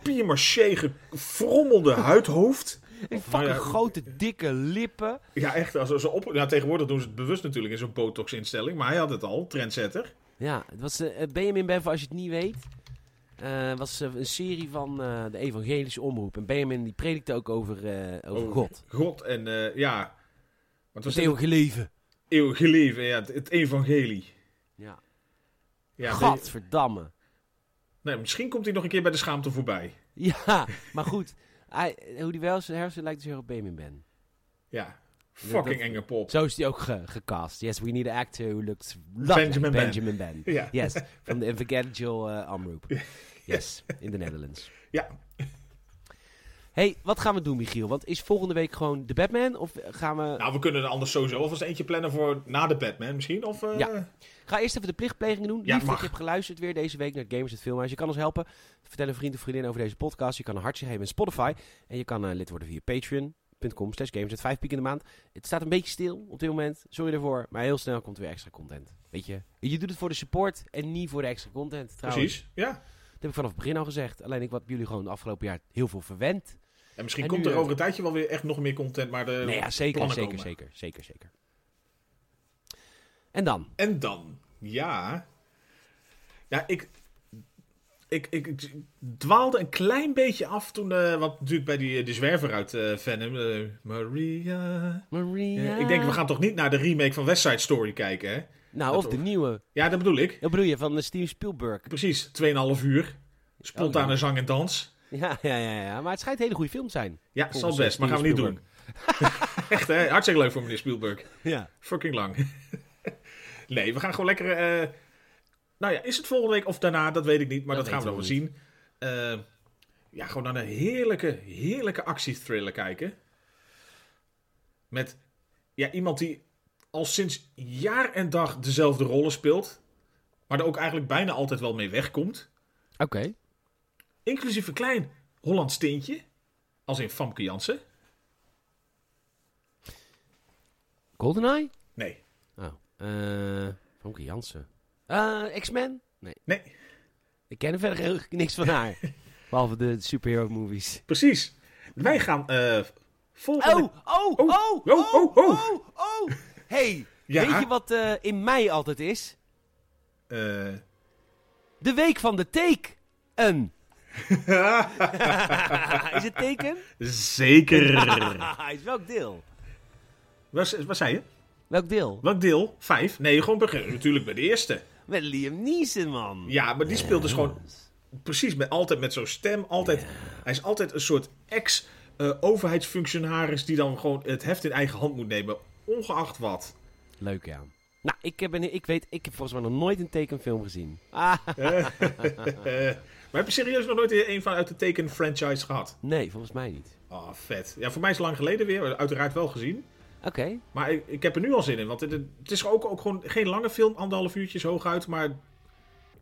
Speaker 2: papier-maché gefrommelde huidhoofd.
Speaker 1: een fucking
Speaker 2: Maar ja,
Speaker 1: grote, dikke lippen.
Speaker 2: Ja, echt. Als, als ze op, nou, tegenwoordig doen ze het bewust natuurlijk in zo'n botox-instelling. Maar hij had het al, trendsetter.
Speaker 1: Ja, het was eh, eh, Benjamin Ben, voor als je het niet weet. eh, was eh, een serie van eh, de evangelische omroep. En Benjamin die predikte ook over, eh, over
Speaker 2: Oh,
Speaker 1: God.
Speaker 2: God en eh, ja. Want het was
Speaker 1: Het
Speaker 2: eeuw,
Speaker 1: eeuwige leven.
Speaker 2: eeuw geleven, ja, het, het evangelie.
Speaker 1: Ja.
Speaker 2: Ja, nee,
Speaker 1: Gadverdamme.
Speaker 2: nee, misschien komt hij nog een keer bij de schaamte voorbij.
Speaker 1: Ja, maar goed. Hij, hoe die wel zijn hersen lijkt dus heel op Benjamin Ben.
Speaker 2: Ja, fucking
Speaker 1: dat-
Speaker 2: enge pop.
Speaker 1: Zo is hij ook ge- gecast. Yes, we need an actor who looks like
Speaker 2: Benjamin
Speaker 1: Benjamin,
Speaker 2: Ben.
Speaker 1: Ben.
Speaker 2: Ja,
Speaker 1: Yes, van de Evangelical eh, Omroep. Yes, in de Netherlands.
Speaker 2: ja.
Speaker 1: hey, wat gaan we doen, Michiel? Want is volgende week gewoon de Batman? Of gaan we...
Speaker 2: Nou, we kunnen er anders sowieso alvast eentje plannen voor na de Batman misschien. Of, eh,
Speaker 1: Ja. Ga eerst even de plichtplegingen doen.
Speaker 2: Ja,
Speaker 1: Lief dat
Speaker 2: mag.
Speaker 1: je hebt geluisterd weer deze week naar Gamers het Filmhuis. Je kan ons helpen. Vertel een vriend of vriendin over deze podcast. Je kan een hartje geven in Spotify. En je kan eh, lid worden via patreon.com slash gamers het vijf piek in de maand. Het staat een beetje stil op dit moment. Sorry daarvoor. Maar heel snel komt er weer extra content. Weet je? Je doet het voor de support en niet voor de extra content. Trouwens.
Speaker 2: Precies, ja.
Speaker 1: Dat heb ik vanaf het begin al gezegd. Alleen ik wat jullie gewoon de afgelopen jaar heel veel verwend.
Speaker 2: En misschien
Speaker 1: En
Speaker 2: komt
Speaker 1: nu,
Speaker 2: er
Speaker 1: eh,
Speaker 2: over een tijdje wel weer echt nog meer content. Maar de
Speaker 1: nee, ja, zeker,
Speaker 2: Eh, plannen
Speaker 1: zeker,
Speaker 2: komen.
Speaker 1: zeker, zeker, zeker. En dan?
Speaker 2: En dan, ja. Ja, ik. Ik, ik, ik dwaalde een klein beetje af toen. eh wat natuurlijk bij die, die zwerver uit eh, Venom. eh, Maria.
Speaker 1: Maria.
Speaker 2: Eh, ik denk, we gaan toch niet naar de remake van West Side Story kijken, hè?
Speaker 1: Nou, of de nieuwe.
Speaker 2: Ja, dat bedoel ik.
Speaker 1: Dat bedoel je, van eh, Steven Spielberg.
Speaker 2: Precies, 2,5 uur. Spontane
Speaker 1: Oh, ja.
Speaker 2: zang en dans.
Speaker 1: Ja, ja, ja, ja, maar het schijnt een hele goede film te zijn.
Speaker 2: Ja, zal
Speaker 1: Volgens,
Speaker 2: best,
Speaker 1: eh,
Speaker 2: maar gaan we niet
Speaker 1: Steven
Speaker 2: doen. Echt, hè? Hartstikke leuk voor meneer Spielberg.
Speaker 1: Ja.
Speaker 2: Fucking lang. nee, we gaan gewoon lekker. eh, nou ja, is het volgende week of daarna? Dat weet ik niet, maar
Speaker 1: Dat
Speaker 2: dat, gaan we dan wel
Speaker 1: weten
Speaker 2: zien. Eh, ja, gewoon naar een heerlijke, heerlijke actiethriller kijken. Met ja, iemand die al sinds jaar en dag dezelfde rollen speelt. Maar er ook eigenlijk bijna altijd wel mee wegkomt.
Speaker 1: Oké.
Speaker 2: Inclusief een klein Hollands tintje. Als in Famke Jansen.
Speaker 1: GoldenEye?
Speaker 2: Nee,
Speaker 1: Oh. Eh Famke Jansen. Eh, X-Men? Nee.
Speaker 2: nee,
Speaker 1: Ik ken er verder heel, niks van haar. Behalve de superhero movies.
Speaker 2: precies. Wij gaan eh volgende...
Speaker 1: Oh, oh, oh, oh,
Speaker 2: oh, oh, oh.
Speaker 1: oh. Hey,
Speaker 2: Ja.
Speaker 1: weet je wat eh, in mei altijd is?
Speaker 2: eh,
Speaker 1: De week van de teken. is het teken?
Speaker 2: Zeker.
Speaker 1: Ah, is welk deel?
Speaker 2: Wat, wat zei je?
Speaker 1: Welk deel?
Speaker 2: Welk deel? Vijf? Nee, gewoon beginnen. Natuurlijk bij de eerste.
Speaker 1: Met Liam Neeson, man.
Speaker 2: Ja, maar die speelt dus gewoon precies met, altijd met zo'n stem. Altijd, Hij is altijd een soort ex-overheidsfunctionaris die dan gewoon het heft in eigen hand moet nemen. Ongeacht wat.
Speaker 1: Leuk, ja. Nou, ik, heb een, ik weet, ik heb volgens mij nog nooit een tekenfilm gezien. Ah,
Speaker 2: Eh, maar heb je serieus nog nooit een van uit de teken franchise gehad?
Speaker 1: nee, volgens mij niet.
Speaker 2: Ah, vet. Ja, voor mij is het lang geleden weer. Uiteraard wel gezien.
Speaker 1: Oké.
Speaker 2: Maar ik, ik heb er nu al zin in. Want het, het is ook, ook gewoon geen lange film. Anderhalf uurtjes hooguit. Maar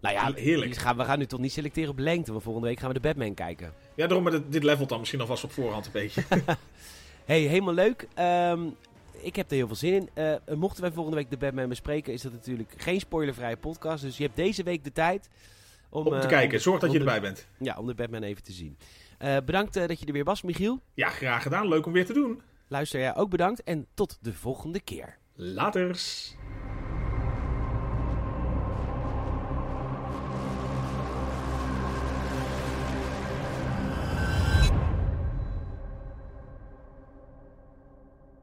Speaker 1: Nou ja,
Speaker 2: Heerlijk.
Speaker 1: we gaan- we gaan nu toch niet selecteren op lengte, want volgende week gaan we de Batman kijken.
Speaker 2: ja, daarom maar dit, dit levelt dan misschien alvast op voorhand een beetje.
Speaker 1: hey, helemaal leuk. Ehm, ik heb er heel veel zin in. Eh, mochten wij volgende week de Batman bespreken, is dat natuurlijk geen spoilervrije podcast. Dus je hebt deze week de tijd om,
Speaker 2: om te
Speaker 1: eh,
Speaker 2: kijken.
Speaker 1: om de-
Speaker 2: Zorg dat je
Speaker 1: om de-
Speaker 2: erbij bent.
Speaker 1: Ja, om de Batman even te zien. Eh, bedankt eh, dat je er weer was, Michiel.
Speaker 2: Ja, graag gedaan. Leuk om weer te doen.
Speaker 1: Luister jij ook bedankt en tot de volgende keer.
Speaker 2: Laters.